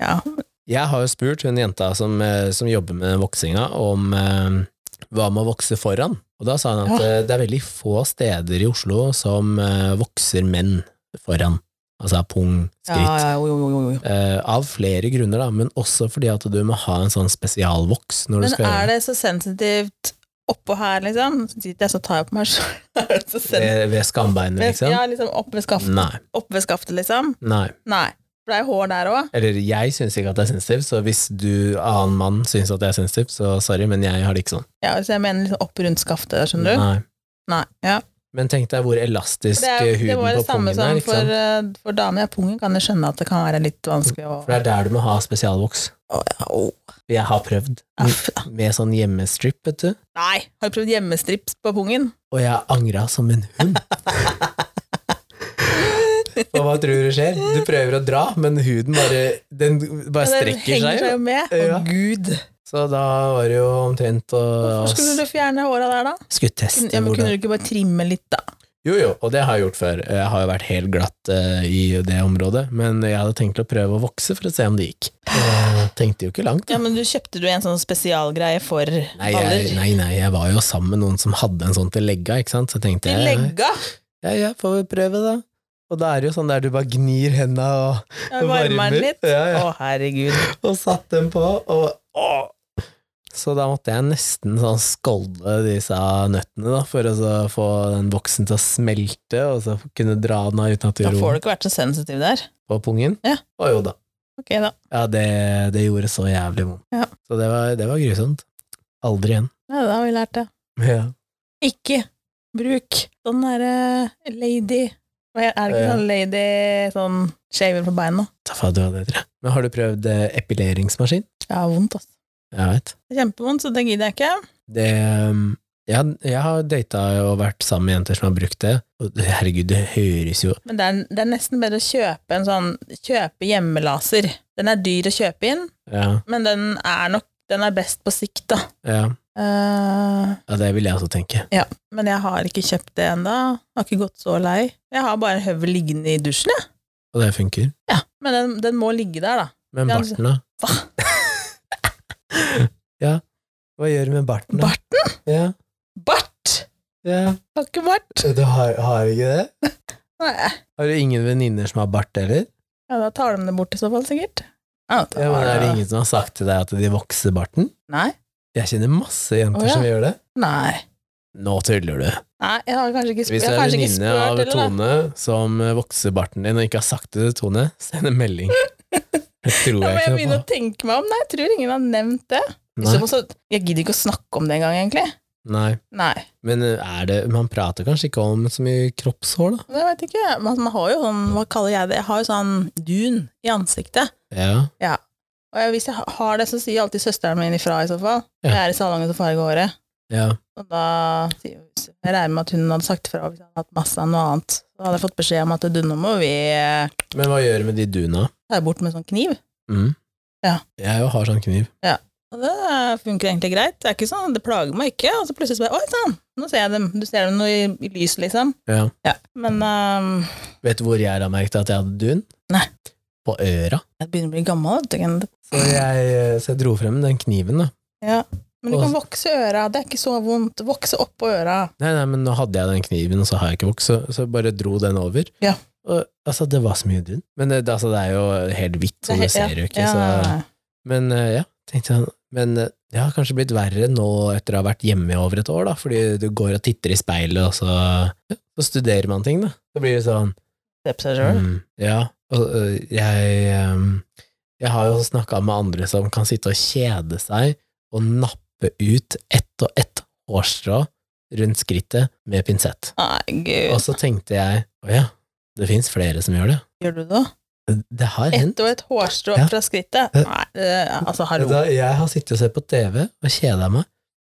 S2: Ja,
S1: Jeg har jo spurt hun jenta som, eh, som jobber med voksinga, om eh, hva med å vokse foran? Og da sa han at
S2: Ja.
S1: eh, det er veldig få steder i Oslo som eh, vokser menn foran. Altså pung, skritt.
S2: Ja, ja, jo, jo, jo, jo.
S1: Eh, av flere grunner, da, men også fordi at du må ha en sånn spesialvoks når du
S2: Men
S1: skal gjøre
S2: er det så sensitivt oppå her, liksom? Sitter jeg så tar jeg på meg sjøl. Er det så sensitivt?
S1: Ved, ved skambeinet,
S2: Ved-
S1: liksom?
S2: Ja, liksom opp ved skaftet,
S1: Nei.
S2: opp ved skaftet liksom.
S1: nei.
S2: Nei. For det er hår der òg.
S1: Eller jeg syns ikke at det er sensitivt, så hvis du annen mann syns at det er sensitivt, så sorry, men jeg har det ikke sånn.
S2: Ja, så jeg mener liksom opp rundt skaftet, der, skjønner du.
S1: Nei.
S2: Nei. ja.
S1: Men tenk deg hvor elastisk
S2: Det, er,
S1: eh,
S2: det
S1: huden
S2: var det
S1: på
S2: samme
S1: pungen
S2: som
S1: er. Ikke
S2: for,
S1: sant?
S2: eh, for damer. Ja, pungen kan jeg skjønne at det kan være litt vanskelig å
S1: For det er der du må ha spesialvoks.
S2: Å, ja, å.
S1: Jeg har prøvd
S2: Aff.
S1: med sånn hjemmestrip, vet du,
S2: Nei! Har du prøvd hjemmestrips på pungen?
S1: og jeg angra som en hund. Og hva tror du skjer? Du prøver å dra, men huden bare, den bare
S2: Ja, den
S1: strekker
S2: henger
S1: seg.
S2: seg
S1: jo.
S2: jo med. Å,
S1: Ja.
S2: gud!
S1: Så da var det jo omtrent å
S2: Hvorfor skulle du fjerne håra der, da?
S1: skulle
S2: Kun-
S1: teste
S2: Ja, men kunne
S1: hvordan
S2: du ikke bare trimme litt, da?
S1: Jo, jo, og det har jeg gjort før. Jeg har jo vært helt glatt eh, i det området, men jeg hadde tenkt å prøve å vokse for å se om det gikk. Jeg tenkte jo ikke langt. da.
S2: Ja, men du kjøpte du en sånn spesialgreie for
S1: Nei jeg,
S2: baller?
S1: nei, nei, jeg var jo sammen med noen som hadde en sånn til legga, ikke sant, så tenkte
S2: Til
S1: jeg
S2: legga?
S1: ja, ja, får vi prøve, da. Og da er det jo sånn der du bare gnir henda og,
S2: Ja, Varmer den litt?
S1: Ja, ja.
S2: Å, herregud.
S1: og satt dem på, og å. Så da måtte jeg nesten sånn skolde disse nøttene, da, for å så få den boksen til å smelte, og så kunne dra den av uten at du
S2: Da får
S1: gjorde
S2: du ikke vært så sensitiv der.
S1: på pungen.
S2: Ja.
S1: Å jo da.
S2: Ok, da.
S1: Ja, det, det gjorde så jævlig vondt.
S2: Ja.
S1: Så det var, det var grusomt. Aldri igjen.
S2: Ja, da har vi lært det.
S1: Ja.
S2: Ikke bruk sånn derre lady Hva Er er det ikke
S1: Ja.
S2: sånn lady sånn shaver på beina?
S1: Ta faen, du hadde det, tror jeg. Men har du prøvd eh, epileringsmaskin?
S2: Jeg har vondt, altså.
S1: Jeg vet.
S2: Det er Kjempevondt, så det gidder jeg ikke.
S1: Det um, jeg, jeg har data og vært sammen med jenter som har brukt det, og det- herregud, det høres jo
S2: Men det er, det er nesten bedre å kjøpe en sånn Kjøpe hjemmelaser. Den er dyr å kjøpe inn,
S1: Ja,
S2: men den er nok den er best på sikt, da.
S1: ja,
S2: Eh,
S1: ja det vil jeg også tenke.
S2: men jeg har ikke kjøpt det ennå. Har ikke gått så lei. Jeg har bare en høvel liggende i dusjen, jeg.
S1: Og det funker.
S2: Ja. Men den, den må ligge der, da.
S1: Men
S2: Ja,
S1: barten, da? ja, hva gjør du med barten? da?
S2: Barten?
S1: Ja,
S2: Bart!
S1: ja.
S2: Har ikke bart.
S1: Du har, har du ikke det?
S2: Nei.
S1: Har du ingen venninner som har bart, eller?
S2: Ja, da tar de det bort i så fall, sikkert. Ja, da
S1: Ja, men er det
S2: tar-
S1: ingen som har sagt til deg at de vokser barten?
S2: Nei.
S1: Jeg kjenner masse jenter
S2: Å, ja.
S1: som gjør det.
S2: Nei.
S1: Nå tuller du.
S2: Nei, jeg har kanskje ikke, sp
S1: Hvis
S2: jeg
S1: du
S2: har
S1: er
S2: kanskje ikke
S1: venninne
S2: spurt,
S1: av
S2: eller da.
S1: Tone som eh, vokser barten din og ikke har sagt det til Tone, send en melding. Det tror
S2: Da må jeg
S1: jeg
S2: begynne
S1: ikke
S2: å tenke meg om. Nei, jeg tror ingen har nevnt det. Så,
S1: noe på.
S2: så- jeg gidder ikke å snakke om det engang, egentlig.
S1: Nei, nei.
S2: Nei,
S1: Men eh, er det Man prater kanskje ikke om så mye kroppshår, da?
S2: det vet jeg ikke. Man, man har jo sånn, hva kaller jeg det, jeg har jo sånn dun i ansiktet.
S1: Ja.
S2: Og jeg, hvis jeg ha- har det, så sier alltid søsteren min ifra i så fall.
S1: Ja.
S2: Jeg er i salongen til farge håret.
S1: ja.
S2: Og da sier hun, jeg regner med at hun hadde sagt ifra hvis jeg hadde hatt masse av noe annet. Da hadde jeg fått beskjed om at du, nå må vi eh,
S1: Men hva gjør du med de duna?
S2: ta det bort med sånn kniv.
S1: Mm.
S2: Ja.
S1: Jeg jo har sånn kniv.
S2: Og det eh, funker egentlig greit. Det er ikke sånn, det plager meg ikke. Og så plutselig så bare Oi sann, nå ser jeg dem. Du ser dem nå i, i lys, liksom.
S1: Ja.
S2: Men ehm,
S1: Vet du hvor jeg har merket at jeg hadde dun?
S2: Nei.
S1: På øra.
S2: jeg begynner å bli gammel. vet du.
S1: Så jeg, eh, så jeg dro frem den kniven, da.
S2: Men du kan vokse øra. Det er ikke så vondt. Vokse oppå øra.
S1: Nei, nei, men nå hadde jeg den kniven, og så har jeg ikke vokst, så, så jeg bare dro den over.
S2: Ja.
S1: Og, altså, det var så mye dun. Men det, altså, det er jo helt hvitt, så
S2: Det
S1: du
S2: er he- ja.
S1: ser jo ikke.
S2: Ja,
S1: Så, men eh, ja, tenkte jeg. Men eh, det har kanskje blitt verre nå etter å ha vært hjemme i over et år, da, fordi du går og titter i speilet, og så, ja, så studerer man ting, da. Så blir det sånn
S2: se på seg sjøl.
S1: mm, Ja. Og eh, jeg eh, Jeg har jo snakka med andre som kan sitte og kjede seg og nappe ut ett og ett hårstrå rundt skrittet med pinsett.
S2: Nei, gud.
S1: Og så tenkte jeg å ja, det fins flere som gjør det.
S2: Gjør du det?
S1: Det har hendt.
S2: Ett og et hårstrå
S1: Ja. Eh.
S2: fra skrittet?
S1: Ja.
S2: Nei, det- altså, hallo.
S1: Da Jeg har sittet og sett på TV og kjeda meg,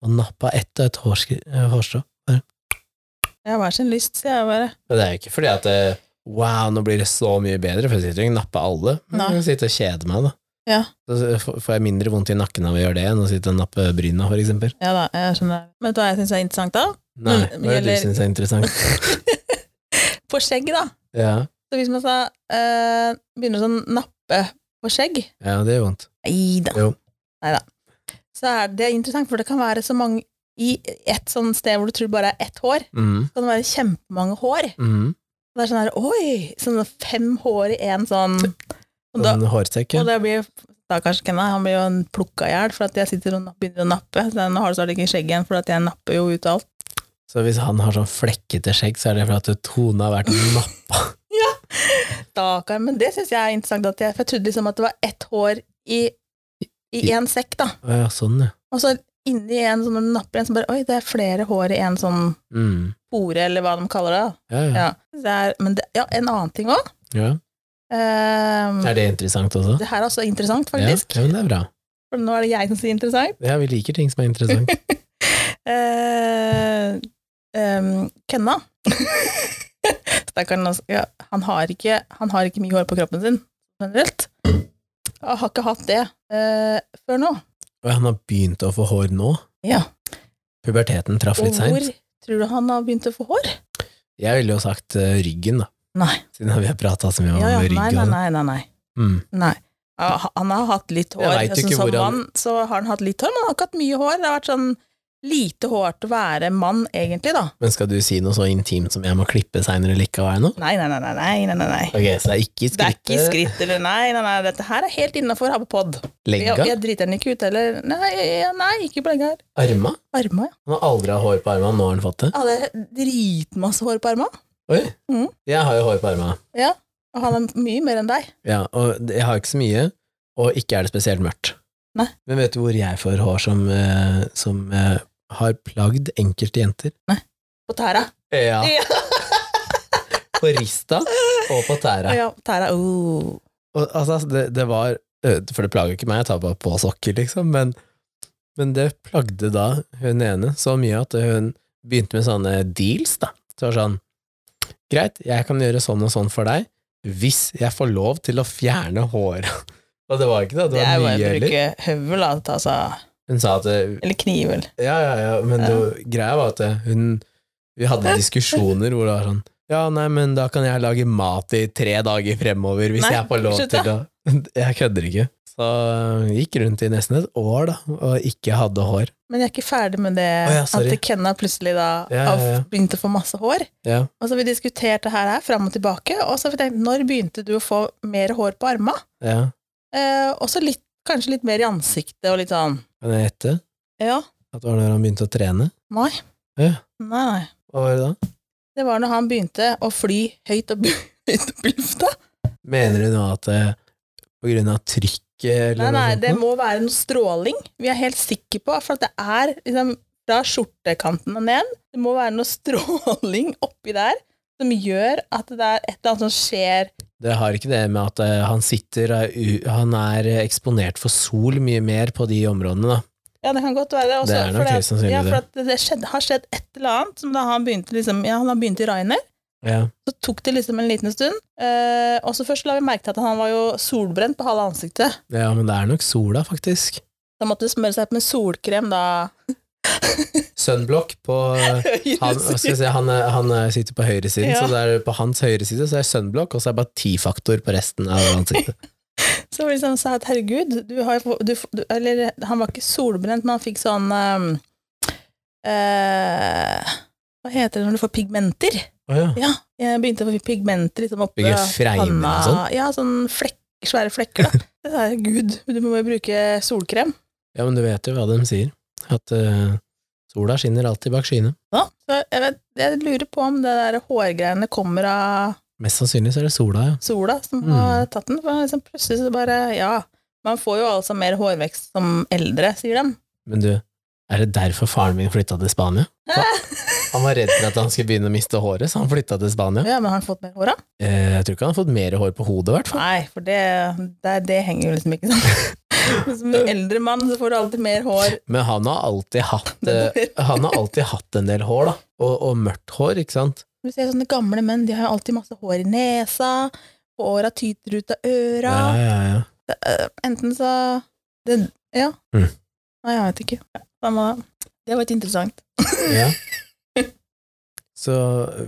S1: og nappa ett og ett hårskri- eh, hårstrå.
S2: Jeg har hver sin lyst, sier jeg bare.
S1: Og det er jo ikke fordi at eh, wow, nå blir det så mye bedre, for jeg sitter jo ikke og napper alle. Men
S2: Nei.
S1: jeg kan sitte og kjede meg, da.
S2: Ja.
S1: Så f- får jeg mindre vondt i nakken av å gjøre det enn å sitte og nappe bryna, for eksempel.
S2: Ja da, jeg skjønner. Men vet du hva jeg syns er interessant, da?
S1: Nei,
S2: Men-
S1: hva er det
S2: gjelder-
S1: du syns er interessant?
S2: På skjegg, da.
S1: Ja,
S2: Så hvis man da eh, begynner å sånn nappe på skjegg
S1: ja det gjør vondt.
S2: Nei da.
S1: Jo.
S2: Så er det interessant, for det kan være så mange i et sånn sted hvor du tror det bare er ett hår,
S1: Mm,
S2: kan det være kjempemange hår.
S1: mm.
S2: Og det er sånn her, oi, sånn fem hår i én sånn og da,
S1: En hårsekk, ja.
S2: og det blir da kanskje Kenna, han blir jo plukka i hjel for at jeg sitter og napp- begynner å nappe. Så nå har du snart ikke skjegg igjen, for at jeg napper jo ut alt.
S1: Så hvis han har sånn flekkete skjegg, så er det fordi at Tone har vært nappa.
S2: Stakkar. Men det syns jeg er interessant, at jeg, for jeg trodde liksom at det var ett hår i, i
S1: I-
S2: én sekk, da.
S1: Å Ja, sånn, ja.
S2: Og så inni en sånn når du napper en, så bare Oi, det er flere hår i en sånn
S1: Mm.
S2: pore, eller hva de kaller det. da.
S1: Ja, ja.
S2: Ja. Det er, men det, ja, en annen ting òg.
S1: ja. Er det interessant også?
S2: det her er også interessant,
S1: Ja,
S2: faktisk.
S1: ja, men det er bra.
S2: For nå er det jeg som sier interessant.
S1: Ja, vi liker ting som er interessant.
S2: Eh, ehm, Kenna Stakkaren, altså, ja, han, har ikke, han har ikke mye hår på kroppen sin generelt. Han har ikke hatt det eh, før nå.
S1: Og han har begynt å få hår nå.
S2: Ja.
S1: Puberteten traff
S2: Og
S1: litt
S2: hvor
S1: seint.
S2: tror du han har begynt å få hår?
S1: Jeg ville jo sagt eh, ryggen, da.
S2: Nei.
S1: Siden vi har prata så mye om
S2: Ja, ja,
S1: rygg.
S2: nei,
S1: og
S2: nei,
S1: sånn.
S2: nei, nei, nei.
S1: Mm.
S2: nei. Ja, ha- han har hatt litt hår.
S1: Jeg vet
S2: Sånn
S1: ikke
S2: som
S1: hvor han-
S2: mann så har han hatt litt hår, men han har ikke hatt mye hår. Det har vært sånn lite hår til å være mann, egentlig, da.
S1: Men skal du si noe så intimt som jeg må klippe seinere likevel nå?
S2: Nei, nei, nei, nei, nei, nei, nei. nei.
S1: Ok, så det er ikke i
S2: Det er
S1: skrittet,
S2: ikke i skritt eller nei, nei, nei, dette her er helt innafor ha på pod. Jeg,
S1: legga,
S2: jeg driter den ikke ut heller. Nei, jeg- nei ikke på legger.
S1: arma?
S2: Arma, ja.
S1: Han har aldri hatt hår på arma, nå har han fått det.
S2: Jeg hadde dritmasse hår på arma.
S1: Oi,
S2: Mm.
S1: jeg har jo hår på arma.
S2: Ja. Og han er mye mer enn deg.
S1: Ja, og jeg har ikke så mye, og ikke er det spesielt mørkt.
S2: Nei.
S1: Men vet du hvor jeg får hår som, eh, som eh, har plagd enkelte jenter?
S2: På tæra.
S1: Ja,
S2: Ja.
S1: på rista og på tæra.
S2: ja, tæra. Oh.
S1: Og, altså, det, det var ø, For det plager ikke meg, jeg tar bare på sokker, liksom, men, men det plagde da hun ene så mye at hun begynte med sånne deals, da. Så det var sånn Greit, jeg kan gjøre sånn og sånn for deg hvis jeg får lov til å fjerne håret. Og det var ikke det, det
S2: Det er
S1: var
S2: jo bare
S1: mye
S2: å
S1: heller.
S2: bruke høvel, da, ta seg
S1: Hun sa at det,
S2: Eller knivel.
S1: Ja, ja, ja, men det, greia var at det- hun Vi hadde diskusjoner hvor det var sånn Ja, nei, men da kan jeg lage mat i tre dager fremover hvis
S2: Nei,
S1: jeg får lov
S2: slutt
S1: til å Jeg kødder ikke. Så jeg gikk rundt i nesten et år, da, og ikke hadde hår.
S2: Men jeg er ikke ferdig med det
S1: Å ja, sorry.
S2: at Kenna plutselig da
S1: Ja, ja, ja.
S2: har begynt å få masse hår.
S1: Ja.
S2: Og så har vi diskutert det her, her fram og tilbake, og så har vi tenkt når begynte du å få mer hår på arma?
S1: ja.
S2: Eh, også litt, kanskje litt mer i ansiktet og litt sånn
S1: Kan jeg gjette
S2: Ja,
S1: at det var når han begynte å trene?
S2: nei.
S1: Ja.
S2: Nei, nei.
S1: Hva var det da?
S2: Det var når han begynte å fly høyt opp, høyt opp i lufta.
S1: Mener du nå at eh, på grunn av trykket
S2: Nei,
S1: eller
S2: nei,
S1: noe
S2: det
S1: sånt?
S2: må være noe stråling. Vi er helt sikre på, for at det er liksom fra skjortekanten og ned, det må være noe stråling oppi der som gjør at det er et eller annet som skjer.
S1: nå? Det har ikke det med at eh, han sitter eh, u- Han er eh, eksponert for sol mye mer på de områdene, da.
S2: Ja, det kan godt være. Også,
S1: Det er nok
S2: fordi at-
S1: helt sannsynlig
S2: Ja,
S1: det.
S2: for at det skjedde, har skjedd et eller annet, som da han begynte liksom, ja, han har begynt i Rainer,
S1: Ja.
S2: Så tok det liksom en liten stund. Eh, og så først la vi merke til at han var jo solbrent på halve ansiktet.
S1: ja, men det er nok sola, faktisk.
S2: Da måtte det smøre seg opp med solkrem, da.
S1: Sunblock på eh, han, hva skal jeg si, han, er- han er- sitter på høyresiden,
S2: Ja.
S1: så det er på hans høyre side så er sunblock, og så er det bare T-faktor på resten av ansiktet.
S2: Så var det liksom sa at herregud, du har jo få- du, du, Eller han var ikke solbrent, men han fikk sånn ehm, eh, Hva heter det når du får pigmenter?
S1: Å ja.
S2: Ja, jeg begynte å få pigmenter liksom oppe
S1: Fikk jeg fregner og sånn?
S2: Ja, sånn flekk, svære flekker, da. Så sa jeg, Herregud, du må jo bruke solkrem.
S1: ja, men du vet jo hva de sier. At eh, sola skinner alltid bak skyene.
S2: Ja, så jeg, vet, jeg lurer på om det der hårgreiene kommer av
S1: Mest sannsynlig så er det sola, ja.
S2: sola som
S1: Mm.
S2: har tatt den. For liksom plutselig så bare Ja. Man får jo altså mer hårvekst som eldre, sier de.
S1: Men du, er det derfor faren min flytta til Spania? Han han var redd for at han skulle begynne å miste håret, så han flytta til Spania.
S2: Ja, men har han fått mer hår, da?
S1: Eh, jeg tror ikke han har fått mer hår på hodet, i hvert fall.
S2: Nei, for det, det, det henger jo liksom ikke sammen. Men Som en eldre mann så får du alltid mer hår.
S1: Men han har alltid hatt, eh,
S2: nedover.
S1: han har alltid hatt en del hår, da. Og, og mørkt hår, ikke sant.
S2: Du ser sånne gamle menn, de har jo alltid masse hår i nesa, håra tyter ut av øra.
S1: ja, ja.
S2: Enten så det, Ja.
S1: Mm.
S2: Nei, jeg vet ikke. Ja, samme det. Det var ikke interessant.
S1: Ja. Så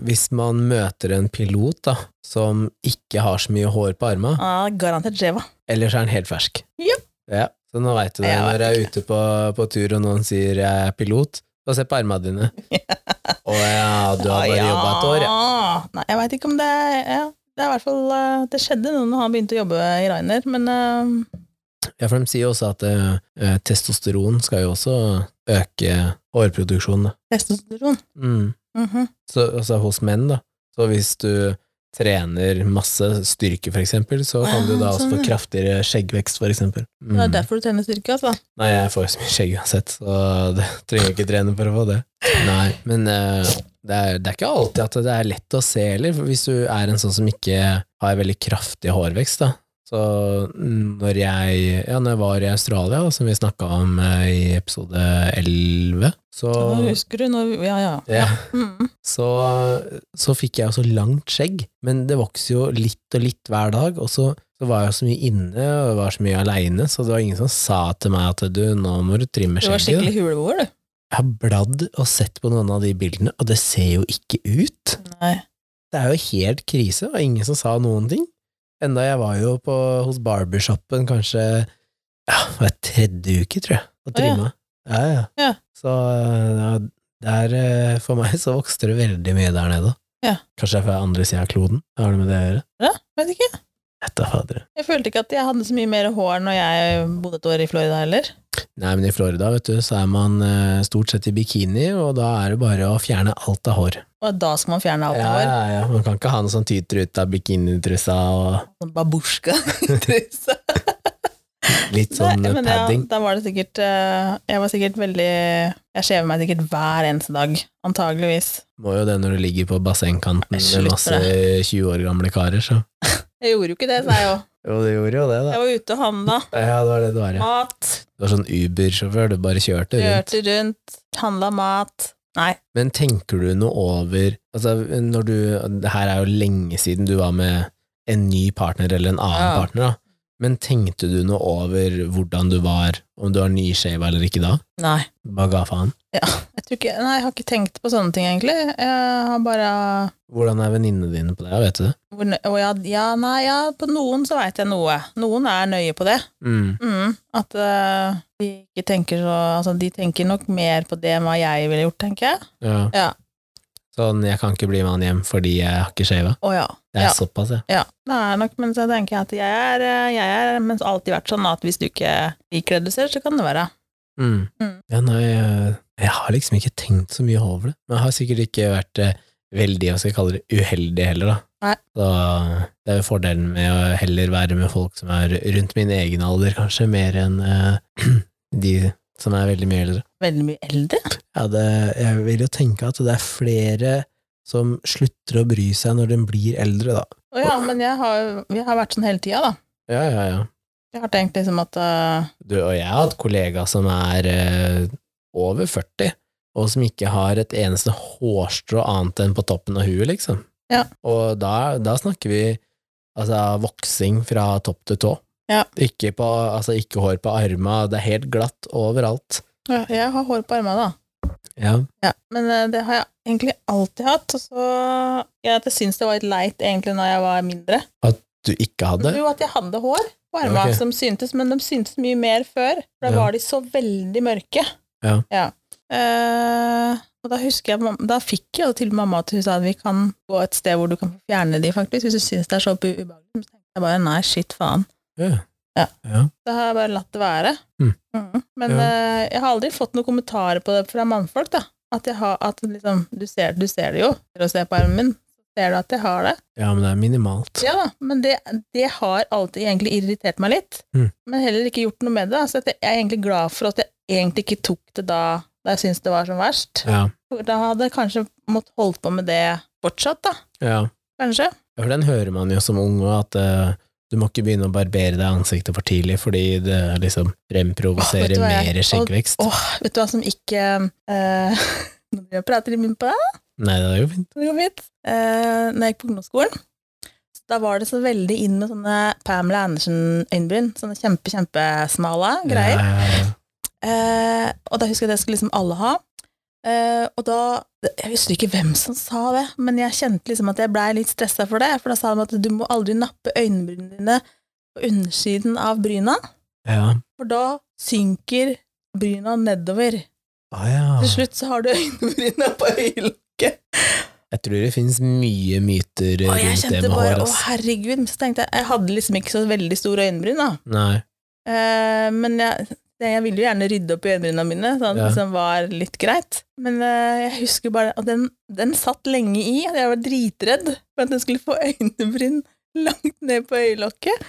S1: hvis man møter en pilot da, som ikke har så mye hår på arma,
S2: Ah, garantert Jeva.
S1: ellers er han helt fersk.
S2: Ja.
S1: Ja, Så nå veit du det.
S2: Jeg vet
S1: Når jeg er ute på, på tur og noen sier jeg er pilot, Få se på armene dine. Å ja, du har bare jobba et år, ja.
S2: ja. Nei, jeg veit ikke om det er ja, Det er i hvert fall eh, Det skjedde noe når han begynte å jobbe i Rainer, men eh,
S1: ja. For de sier jo også at eh, testosteron skal jo også øke hårproduksjonen. da.
S2: testosteron
S1: Mm.
S2: Mhm.
S1: Så, altså hos menn, da. Så hvis du trener masse styrke, for eksempel, så kan du da
S2: Ah,
S1: også
S2: sånn,
S1: få
S2: ja.
S1: kraftigere skjeggvekst, for eksempel.
S2: Det er
S1: Mm.
S2: derfor du trener styrke, altså.
S1: Nei, jeg får jo så mye skjegg uansett, så det trenger jeg ikke trene for å få det. Nei, men eh, det, er, det er ikke alltid at det er lett å se heller, for hvis du er en sånn som ikke har veldig kraftig hårvekst, da. Så når jeg, ja, når jeg var i Australia, som vi snakka om eh, i episode 11, så
S2: Ja, husker du når vi- Ja, ja.
S1: ja,
S2: Mhm.
S1: så, så fikk jeg også langt skjegg, men det vokser jo litt og litt hver dag, og så, så var jeg så mye inne og jeg var så mye aleine, så det var ingen som sa til meg at du, nå må du trimme
S2: Du var skikkelig
S1: skjegget.
S2: huleboer, du.
S1: Jeg har bladd og sett på noen av de bildene, og det ser jo ikke ut.
S2: Nei.
S1: Det er jo helt krise, og ingen som sa noen ting. Enda jeg var jo på, hos barbershoppen kanskje ja, hver tredje uke, tror jeg, og
S2: Å, ja.
S1: trimma. Ja, ja.
S2: Ja.
S1: Så ja, der, eh, for meg så vokste det veldig mye der nede.
S2: Ja.
S1: Kanskje det er fra andre sida av kloden? Har det med det å gjøre?
S2: Ja, vet ikke.
S1: Dette er fader.
S2: Jeg følte ikke at jeg hadde så mye mer hår når jeg bodde et år i Florida heller.
S1: Nei, men i Florida, vet du, så er man eh, stort sett i bikini, og da er det bare å fjerne alt av hår.
S2: Og da skal man fjerne alt
S1: Ja,
S2: hår.
S1: ja, ja. Man kan ikke ha noe sånn tyter ut av bikinitressa og
S2: Sånn babusjka-truse.
S1: litt sånn
S2: Nei, men ja,
S1: padding.
S2: da var det sikkert eh, Jeg var sikkert veldig Jeg skjever meg sikkert hver eneste dag, antageligvis.
S1: Må jo det når du ligger på bassengkanten
S2: Nei,
S1: med
S2: slutt
S1: masse 20 år gamle karer, så.
S2: Jeg gjorde jo ikke det, sa jeg jo.
S1: Jo, du gjorde jo det, da.
S2: Jeg var ute og handla.
S1: Ja, det var det du var, ja.
S2: Mat.
S1: Du var sånn Uber-sjåfør, du bare kjørte rundt.
S2: Kjørte rundt. Handla mat. Nei.
S1: Men tenker du noe over Altså, når du Det her er jo lenge siden du var med en ny partner eller en annen
S2: Ja.
S1: partner, da. Men tenkte du noe over hvordan du var, om du var nyshava eller ikke da?
S2: Nei.
S1: Bare ga faen?
S2: Jeg, tror ikke, nei, jeg har ikke tenkt på sånne ting, egentlig. Jeg har bare
S1: Hvordan er venninnene dine på det, vet du det?
S2: hvor nø- og ja, ja, nei, ja, på noen så veit jeg noe. Noen er nøye på det.
S1: Mm.
S2: Mm, at eh, de ikke tenker så Altså, de tenker nok mer på det enn hva jeg ville gjort, tenker jeg.
S1: Ja.
S2: Ja.
S1: Sånn, jeg kan ikke bli med han hjem fordi jeg har ikke shava.
S2: Å ja.
S1: Det er
S2: ja.
S1: såpass, ja.
S2: Ja, det er nok, men så tenker jeg at jeg er, eh, jeg er men så har alltid vært sånn at hvis du ikke liker det du ser, så kan det være.
S1: Mm.
S2: Mm.
S1: Ja, nei, jeg, jeg har liksom ikke tenkt så mye over det. Men jeg har sikkert ikke vært eh, veldig, hva skal jeg kalle det, uheldig heller, da.
S2: Nei.
S1: Så det er jo fordelen med å heller være med folk som er rundt min egen alder, kanskje, mer enn eh, de som er veldig mye eldre.
S2: Veldig mye eldre.
S1: Ja, det, jeg vil jo tenke at det er flere som slutter å bry seg når de blir eldre, da.
S2: Å ja, men jeg har, jeg har vært sånn hele tida, da.
S1: Ja, ja, ja.
S2: Jeg har tenkt liksom at eh,
S1: Du og jeg har hatt kollegaer som er eh, over 40, og som ikke har et eneste hårstrå annet enn på toppen av huet, liksom.
S2: Ja.
S1: Og da, da snakker vi altså, voksing fra topp til tå.
S2: Ja.
S1: Ikke, på, altså, ikke hår på arma, det er helt glatt overalt.
S2: ja, Jeg har hår på armene, da.
S1: Ja.
S2: Ja, men eh, det har jeg egentlig alltid hatt. Og så ja, at jeg syns det var litt leit egentlig når jeg var mindre.
S1: Du ikke hadde?
S2: Jo, at jeg hadde hår på armene
S1: Ok.
S2: som syntes, men de syntes mye mer før. For da
S1: Ja.
S2: var de så veldig mørke.
S1: Ja.
S2: Eh, og da husker jeg, mam- da fikk jeg jo til mamma at hun sa at vi kan gå et sted hvor du kan få fjerne de, faktisk, hvis du syns det er så ube- ubehagelig. Men Så tenkte jeg bare nei, shit, faen.
S1: Ja.
S2: Ja.
S1: Ja.
S2: Da har jeg bare latt det være.
S1: Mm.
S2: Mhm. Men
S1: Ja.
S2: eh, jeg har aldri fått noen kommentarer på det fra mannfolk, da. At, jeg har, at liksom, du, ser, du ser det jo, når du ser på armen min, så ser du at jeg har det.
S1: ja, men det er minimalt.
S2: Ja da, men det, det har alltid egentlig irritert meg litt.
S1: Mm.
S2: Men heller ikke gjort noe med det. da. Så at jeg er egentlig glad for at jeg egentlig ikke tok det da, da jeg syntes det var som verst.
S1: Ja.
S2: For Da hadde jeg kanskje måttet holde på med det fortsatt, da.
S1: ja.
S2: Kanskje.
S1: Ja, For den hører man jo som ung òg, at eh, du må ikke begynne å barbere deg ansiktet for tidlig, fordi det liksom
S2: Åh, vet
S1: fremprovoserer
S2: du hva jeg-
S1: mer skjeggvekst.
S2: Åh, vet du hva som ikke eh, Nå driver jeg og prater i munnen på deg,
S1: Nei, det er jo fint.
S2: det går fint. Eh, når jeg gikk på ungdomsskolen, så da var det så veldig inn med sånne Pamela Andersen-øyenbryn. Sånne kjempe, kjempesmale greier.
S1: Ja, ja, ja.
S2: Eh, og da husker jeg det skulle liksom alle ha. Eh, og da Jeg husker ikke hvem som sa det, men jeg kjente liksom at jeg blei litt stressa for det. For da sa de at du må aldri nappe øyenbrynene dine på undersiden av bryna,
S1: Ja.
S2: for da synker bryna nedover.
S1: Ah, ja.
S2: Til slutt så har du øyenbrynene på øyelokket.
S1: Jeg tror det finnes mye myter
S2: Og jeg
S1: rundt det
S2: kjente
S1: med
S2: bare
S1: hår.
S2: å
S1: ass.
S2: herregud, men så tenkte jeg jeg hadde liksom ikke så veldig store øyenbryn, da.
S1: Nei.
S2: Eh, men jeg, det- jeg ville jo gjerne rydde opp i øyenbrynene mine, sånn at det
S1: Ja.
S2: liksom var litt greit. Men eh, jeg husker bare Og den, den satt lenge i, og jeg var dritredd for at jeg skulle få øyebryn langt ned på øyelokket.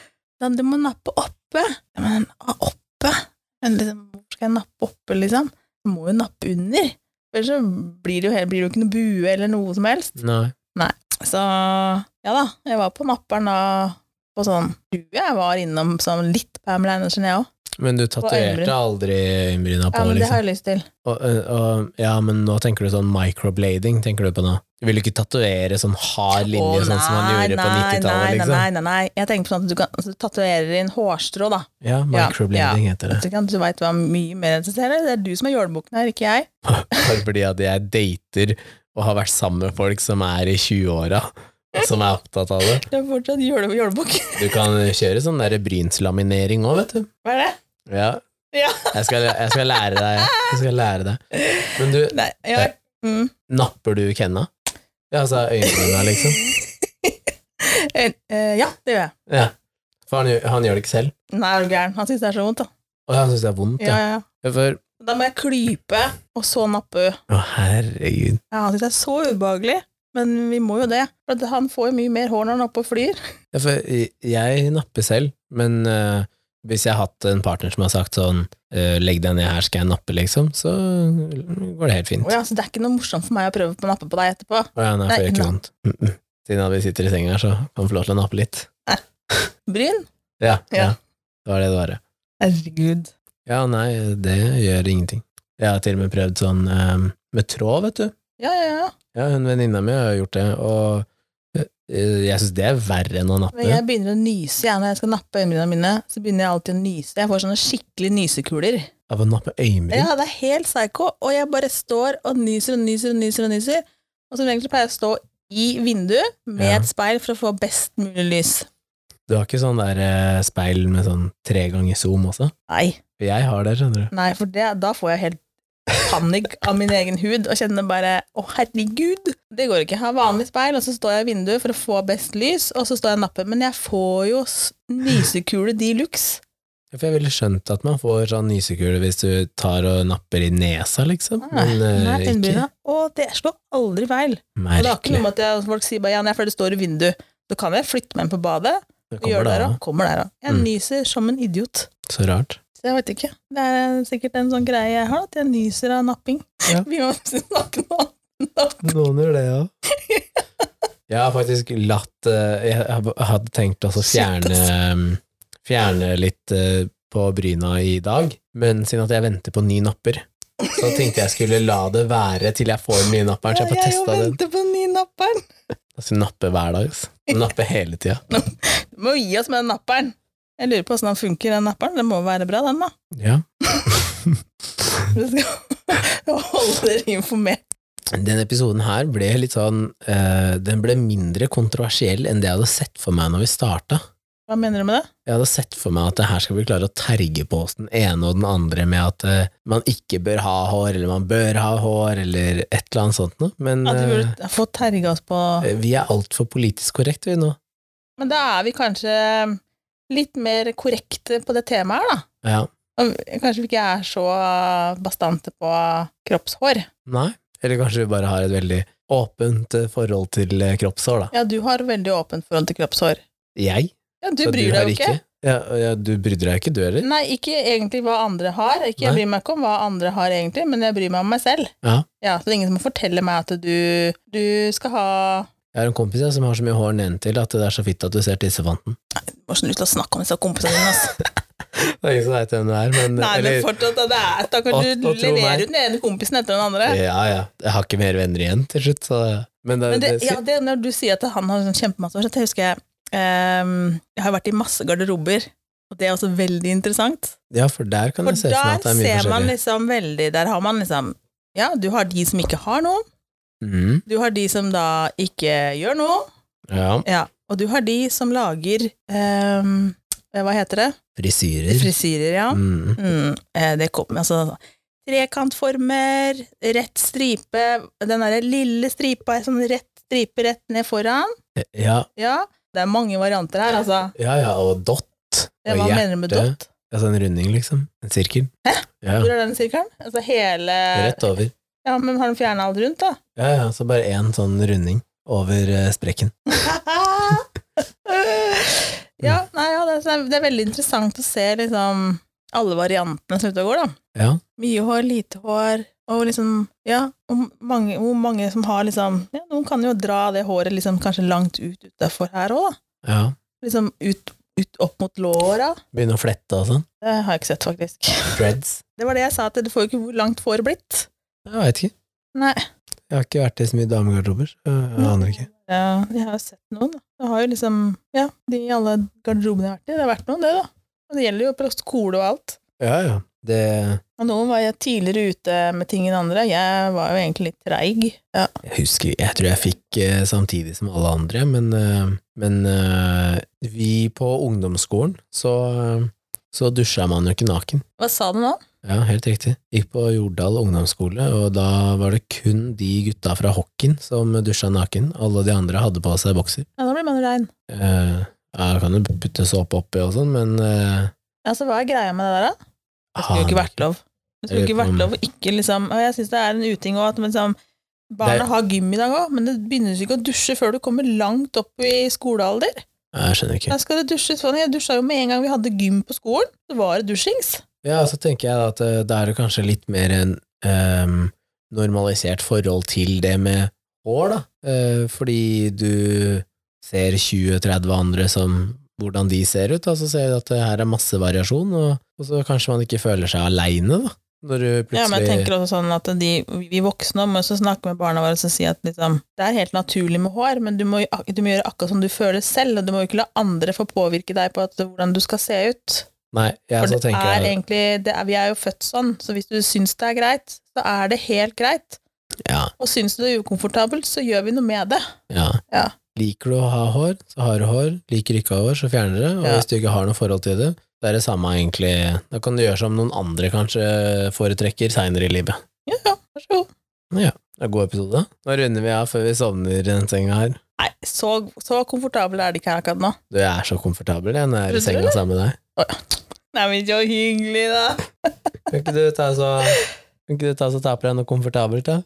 S2: Sånn, du må nappe oppe. Ja, men ah, oppe? Men liksom, hvor skal jeg nappe oppe, liksom? Du må jo nappe under. Ellers så blir det jo, helt- blir det jo ikke noe bue eller noe som helst.
S1: Nei.
S2: Så ja da, jeg var på napperen da på sånn due. Jeg var innom sånn litt Pamela Andersen, jeg òg.
S1: Men du
S2: øyenbryn.
S1: tatoverte aldri øyenbryna på,
S2: Ja, men det
S1: liksom?
S2: har jeg lyst til.
S1: Og, og, ja, men nå tenker du sånn microblading, tenker du på nå? Du vil jo ikke tatovere sånn hard linje,
S2: Å,
S1: sånn som man
S2: nei,
S1: gjorde på
S2: nei,
S1: 90-tallet, liksom?
S2: Nei, nei, nei, nei. Jeg tenkte på sånn at du kan altså, tatoverer inn hårstrå, da.
S1: Ja, microblading heter det.
S2: Så kan- Du veit hva mye mer interesserer. Det er du som er jålebukken her, ikke jeg.
S1: Bare fordi at jeg dater og har vært sammen med folk som er i 20-åra, og som er opptatt av det.
S2: Du er fortsatt jåle- jålebukk.
S1: Du kan kjøre sånn der brynslaminering òg, vet du.
S2: Hva er det?
S1: Ja.
S2: Ja.
S1: Jeg, skal, jeg skal lære deg Jeg skal lære deg. Men du,
S2: Nei, ja. Mm.
S1: napper du Kenna? Ja, altså øyenbryna, liksom?
S2: Eh, eh, ja, det gjør jeg.
S1: Ja. For han, gjør- han gjør det ikke selv.
S2: Nei, er du gæren. Han syns det er så vondt, da.
S1: Og han syns det er vondt,
S2: Ja,
S1: ja.
S2: ja, ja.
S1: For,
S2: Da må jeg klype, og så nappe.
S1: å, herregud.
S2: Ja, han syns det er så ubehagelig, men vi må jo det. For at han får jo mye mer hår når han er oppe og flyr.
S1: Ja, for jeg napper selv, men eh, hvis jeg har hatt en partner som har sagt sånn eh, legg deg ned her, skal jeg nappe, liksom, så går det helt fint.
S2: Å ja, så det er ikke noe morsomt for meg å prøve å nappe på deg etterpå.
S1: Å ja, nei, for
S2: Nei,
S1: jeg gjør ikke
S2: nei.
S1: vondt. Mm -mm. Siden at vi sitter i senga her, så kan vi få lov til å nappe litt.
S2: Bryn?
S1: Ja, ja.
S2: Ja.
S1: Det var det det var. ja.
S2: Herregud.
S1: Ja, nei, det gjør ingenting. Jeg har til og med prøvd sånn eh, med tråd, vet du.
S2: Ja, ja, ja.
S1: Ja, hun venninna mi har gjort det, og eh, jeg syns det er verre enn å nappe.
S2: Men jeg begynner å nyse jeg, når jeg skal nappe øyenbrynene mine. Så begynner jeg alltid å nyse. Jeg får sånne skikkelig nysekuler.
S1: Av å nappe øyenbryn.
S2: Ja, det er helt psycho. Og jeg bare står og nyser og nyser og nyser. Og nyser. Og som regel så pleier jeg å stå i vinduet med
S1: Ja.
S2: et speil for å få best mulig lys.
S1: Du har ikke sånn der eh, speil med sånn tre ganger zoom også?
S2: Nei,
S1: For jeg har det, skjønner du.
S2: nei for det, da får jeg helt panikk av min egen hud og kjenner bare 'å, herregud', det går ikke. Jeg har vanlig speil, og så står jeg i vinduet for å få best lys, og så står jeg og napper. Men jeg får jo s- nysekule de luxe.
S1: Ja, For jeg ville skjønt at man får sånn nysekule hvis du tar og napper i nesa, liksom.
S2: Nei,
S1: Men eh,
S2: Ah, nei,
S1: ikke.
S2: øyenbryna. Og det slår aldri feil. Og det er ikke
S1: Merkelig.
S2: noe med at jeg, altså, folk sier bare ja, nei, for det står i vinduet. Da kan jeg flytte meg inn på badet.
S1: Det
S2: og gjøre
S1: kommer
S2: det
S1: da.
S2: her også. Kommer der også. Jeg
S1: Mm.
S2: nyser som en idiot.
S1: Så rart.
S2: Så jeg vet ikke. Det er sikkert en sånn greie jeg har, at jeg nyser av napping.
S1: Ja.
S2: Vi må snakke nå.
S1: Noen gjør det, ja. Jeg har faktisk latt eh, Jeg har- jeg hadde tenkt også å fjerne mm, Fjerne litt eh, på bryna i dag, men siden at jeg venter på ny napper, så tenkte jeg skulle la det være til jeg får den nye napperen, så jeg får
S2: Jeg jo
S1: testa den.
S2: venter på den nye napperen.
S1: Altså nappe hver dag. ass. Nappe hele tida.
S2: Du må gi oss med den napperen. Jeg lurer på åssen den funker, den napperen. Den må være bra, den, da.
S1: Ja.
S2: Du skal holde dere informert.
S1: Denne episoden her ble litt sånn eh, Den ble mindre kontroversiell enn det jeg hadde sett for meg når vi starta.
S2: Hva mener du med det?
S1: Jeg hadde sett for meg at det her skal vi klare å terge på oss den ene og den andre med at eh, man ikke bør ha hår, eller man bør ha hår, eller et eller annet sånt noe. Men
S2: At vi burde få terga oss på
S1: eh, vi er altfor politisk korrekte, vi nå.
S2: Men da er vi kanskje litt mer korrekte på det temaet her, da.
S1: Ja.
S2: Og kanskje vi ikke er så bastante på kroppshår.
S1: Nei. Eller kanskje vi bare har et veldig åpent eh, forhold til eh, kroppshår, da.
S2: Ja, du har veldig åpent forhold til kroppshår.
S1: Jeg?
S2: Ja, du
S1: så
S2: bryr
S1: har
S2: deg jo ikke.
S1: Ja, ja, du brydde deg ikke, du heller?
S2: Nei, ikke egentlig hva andre har. Ikke jeg
S1: Nei.
S2: bryr meg ikke om hva andre har egentlig, men jeg bryr meg om meg selv.
S1: Ja.
S2: så det er ingen som må fortelle meg at du, du skal ha
S1: Jeg har en kompis ja, som har så mye hår nedentil at det er så fitt at du ser tissefanten.
S2: Må snu til å snakke om disse kompisene dine, altså.
S1: Det er ingen som veit hvem du er, men
S2: Nei, men fortsatt, da, det er
S1: Og-
S2: stakkar. Du
S1: og tro meg.
S2: leverer ut den ene kompisen etter den andre.
S1: Ja, ja. Jeg har ikke mer venner igjen til slutt, så Men, det,
S2: Men det,
S1: det-
S2: ja, det, når du sier at han har sånn kjempemasse år, så husker jeg ehm, Jeg har vært i masse garderober, og det er også veldig interessant.
S1: Ja, for der kan
S2: For
S1: jeg se for meg
S2: der
S1: at det er mye
S2: ser man
S1: forskjellig.
S2: liksom veldig Der har man liksom Ja, du har de som ikke har noe,
S1: Mm,
S2: du har de som da ikke gjør noe,
S1: ja,
S2: ja, og du har de som lager ehm, Hva heter det?
S1: frisyrer.
S2: Frisyrer, ja.
S1: Mm.
S2: Mm, eh, det kommer, altså, Trekantformer, rett stripe, den derre lille stripa, sånn rett stripe rett ned foran.
S1: Ja,
S2: Ja, det er mange varianter her, altså.
S1: ja, ja og dott.
S2: Ja,
S1: Og
S2: Hva
S1: hjerte.
S2: mener du med dott?
S1: Altså en runding, liksom. En sirkel. Ja,
S2: Hvor
S1: ja.
S2: er den sirkelen? Altså hele
S1: Rett over.
S2: Ja, men har den fjerna alt rundt, da?
S1: Ja, ja, så bare én sånn runding over eh, sprekken.
S2: ja, nei, ja, det, er, det er veldig interessant å se liksom alle variantene som er ute og går, da.
S1: Ja.
S2: Mye hår, lite hår, og liksom Ja, og mange, hvor mange som har liksom ja, Noen kan jo dra det håret liksom kanskje langt ut utafor her òg, da.
S1: ja.
S2: Liksom ut, ut opp mot låra.
S1: Begynne å flette og sånn.
S2: Det har jeg ikke sett, faktisk.
S1: Dreads.
S2: Det var det jeg sa, at du får jo ikke hvor langt får blitt.
S1: Jeg veit ikke.
S2: Nei.
S1: Jeg har ikke vært i så mye damegarderober. så Jeg aner ikke.
S2: Ja, jeg har jo sett noen. da. Jeg har jo liksom, ja, de i alle garderobene jeg har vært i, det har vært noen det da. Og det gjelder jo på skole og alt.
S1: Ja, ja. Det
S2: Og noen var jeg tidligere ute med ting enn andre. Jeg var jo egentlig litt treig. Ja.
S1: Jeg husker Jeg tror jeg fikk eh, samtidig som alle andre, men, eh, men eh, vi på ungdomsskolen, så, eh, så dusja man jo ikke naken.
S2: Hva sa du nå?
S1: Ja, helt riktig. Gikk på Jordal ungdomsskole, og da var det kun de gutta fra hockeyen som dusja naken. Alle de andre hadde på seg bokser.
S2: Ja, da blir man jo rein.
S1: Eh, ja, jeg kan jo putte såpe oppi og sånn, men eh,
S2: Altså, hva er greia med det der da? Det skulle jo ikke vært lov. Det skulle
S1: Ah, Jeg
S2: ikke
S1: vet
S2: vært
S1: om-
S2: lov å ikke liksom, og jeg synes det er en uting også, at man liksom, barna
S1: Det-
S2: har gym i dag også, men det begynner jo ikke å dusje før du kommer langt opp i skolealder.
S1: Jeg skjønner ikke.
S2: Da skal det dusjes. Faen, Jeg dusja jo med en gang vi hadde gym på skolen. Så var det dusjings.
S1: Ja, så tenker jeg da at eh, da er det kanskje litt mer en ehm, normalisert forhold til det med hår, da. Eh, fordi du ser 20-30 andre som hvordan de ser ut, da, så ser du at det her er masse variasjon, og, og så kanskje man ikke føler seg aleine, da. Når du
S2: Ja, men jeg
S1: plutselig
S2: tenker også sånn at de, vi voksne må også snakke med barna våre og si at liksom, det er helt naturlig med hår, men du må, jo ak- du må gjøre akkurat som du føler selv, og du må jo ikke la andre få påvirke deg på at, hvordan du skal se ut.
S1: Nei, ja,
S2: For
S1: så
S2: det er
S1: tenker jeg
S2: egentlig, det er, vi er jo født sånn, så hvis du syns det er greit, så er det helt greit.
S1: ja,
S2: Og syns du det er ukomfortabelt, så gjør vi noe med det.
S1: ja.
S2: Ja.
S1: Liker du å ha hår, så har du hår. Liker du ikke å ha hår, så fjerner du det. Og
S2: Ja.
S1: hvis du ikke har noe forhold til det, det er det samme egentlig. Da kan du gjøre som noen andre kanskje foretrekker seinere i livet.
S2: Ja, ja, vær så god.
S1: Det er god episode. Nå runder vi av før vi sovner i den senga her.
S2: Nei, så, så komfortabel er det ikke her akkurat nå.
S1: Du jeg er så komfortabel jeg, når jeg er i
S2: Tror du
S1: senga sammen med deg.
S2: Nei, men så hyggelig, da.
S1: Kan ikke du ta så Kan ikke du ta så ta på deg noe komfortabelt, da?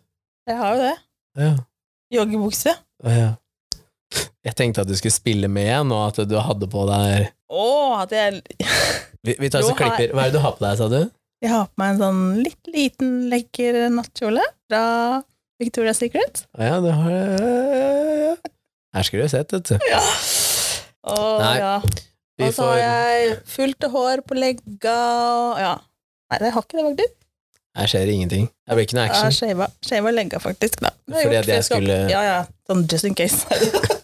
S2: Jeg har jo det.
S1: Ja.
S2: Joggebukse.
S1: Å, ja. Jeg tenkte at du skulle spille med igjen, og at du hadde på deg
S2: Å, at jeg
S1: Vi, vi tar så
S2: Jo, har-
S1: klipper. Hva er det du har på deg, sa du?
S2: Jeg har på meg en sånn litt liten, lekker nattkjole fra Victoria's Secret.
S1: Å ja, du har Her skulle du sett, vet du.
S2: Ja. Og,
S1: Nei,
S2: ja.
S1: Vi
S2: og så
S1: får
S2: har Altså, jeg fullt hår på legga og ja. Nei, jeg har ikke det, faktisk.
S1: Her skjer ingenting. Det blir ikke noe
S2: Jeg har
S1: action.
S2: shava- shava legga, faktisk. Da. Det har
S1: Fordi
S2: gjort,
S1: at jeg
S2: skal-
S1: skulle-
S2: Ja, ja. Sånn just in case.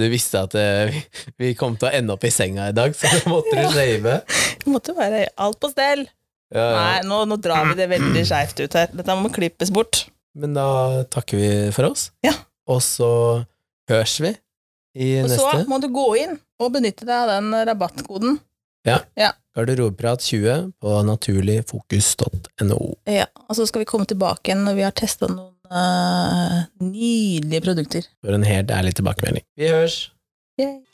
S1: Du visste at eh, vi- vi kom til å ende opp i senga i dag, så da måtte du
S2: Ja.
S1: shave.
S2: Det måtte være alt på stell.
S1: Ja, ja.
S2: Nei, nå, nå drar vi det veldig skeivt ut her. Dette må klippes bort.
S1: Men da takker vi for oss.
S2: Ja.
S1: Og så høres vi i
S2: Og så
S1: neste.
S2: må du gå inn og benytte deg av den rabattkoden.
S1: Garderobeprat 20 på naturligfokus.no.
S2: Ja, og så skal vi komme tilbake igjen når vi har testa noen eh, nydelige produkter.
S1: For en helt ærlig tilbakemelding. Vi høres!
S2: Yay.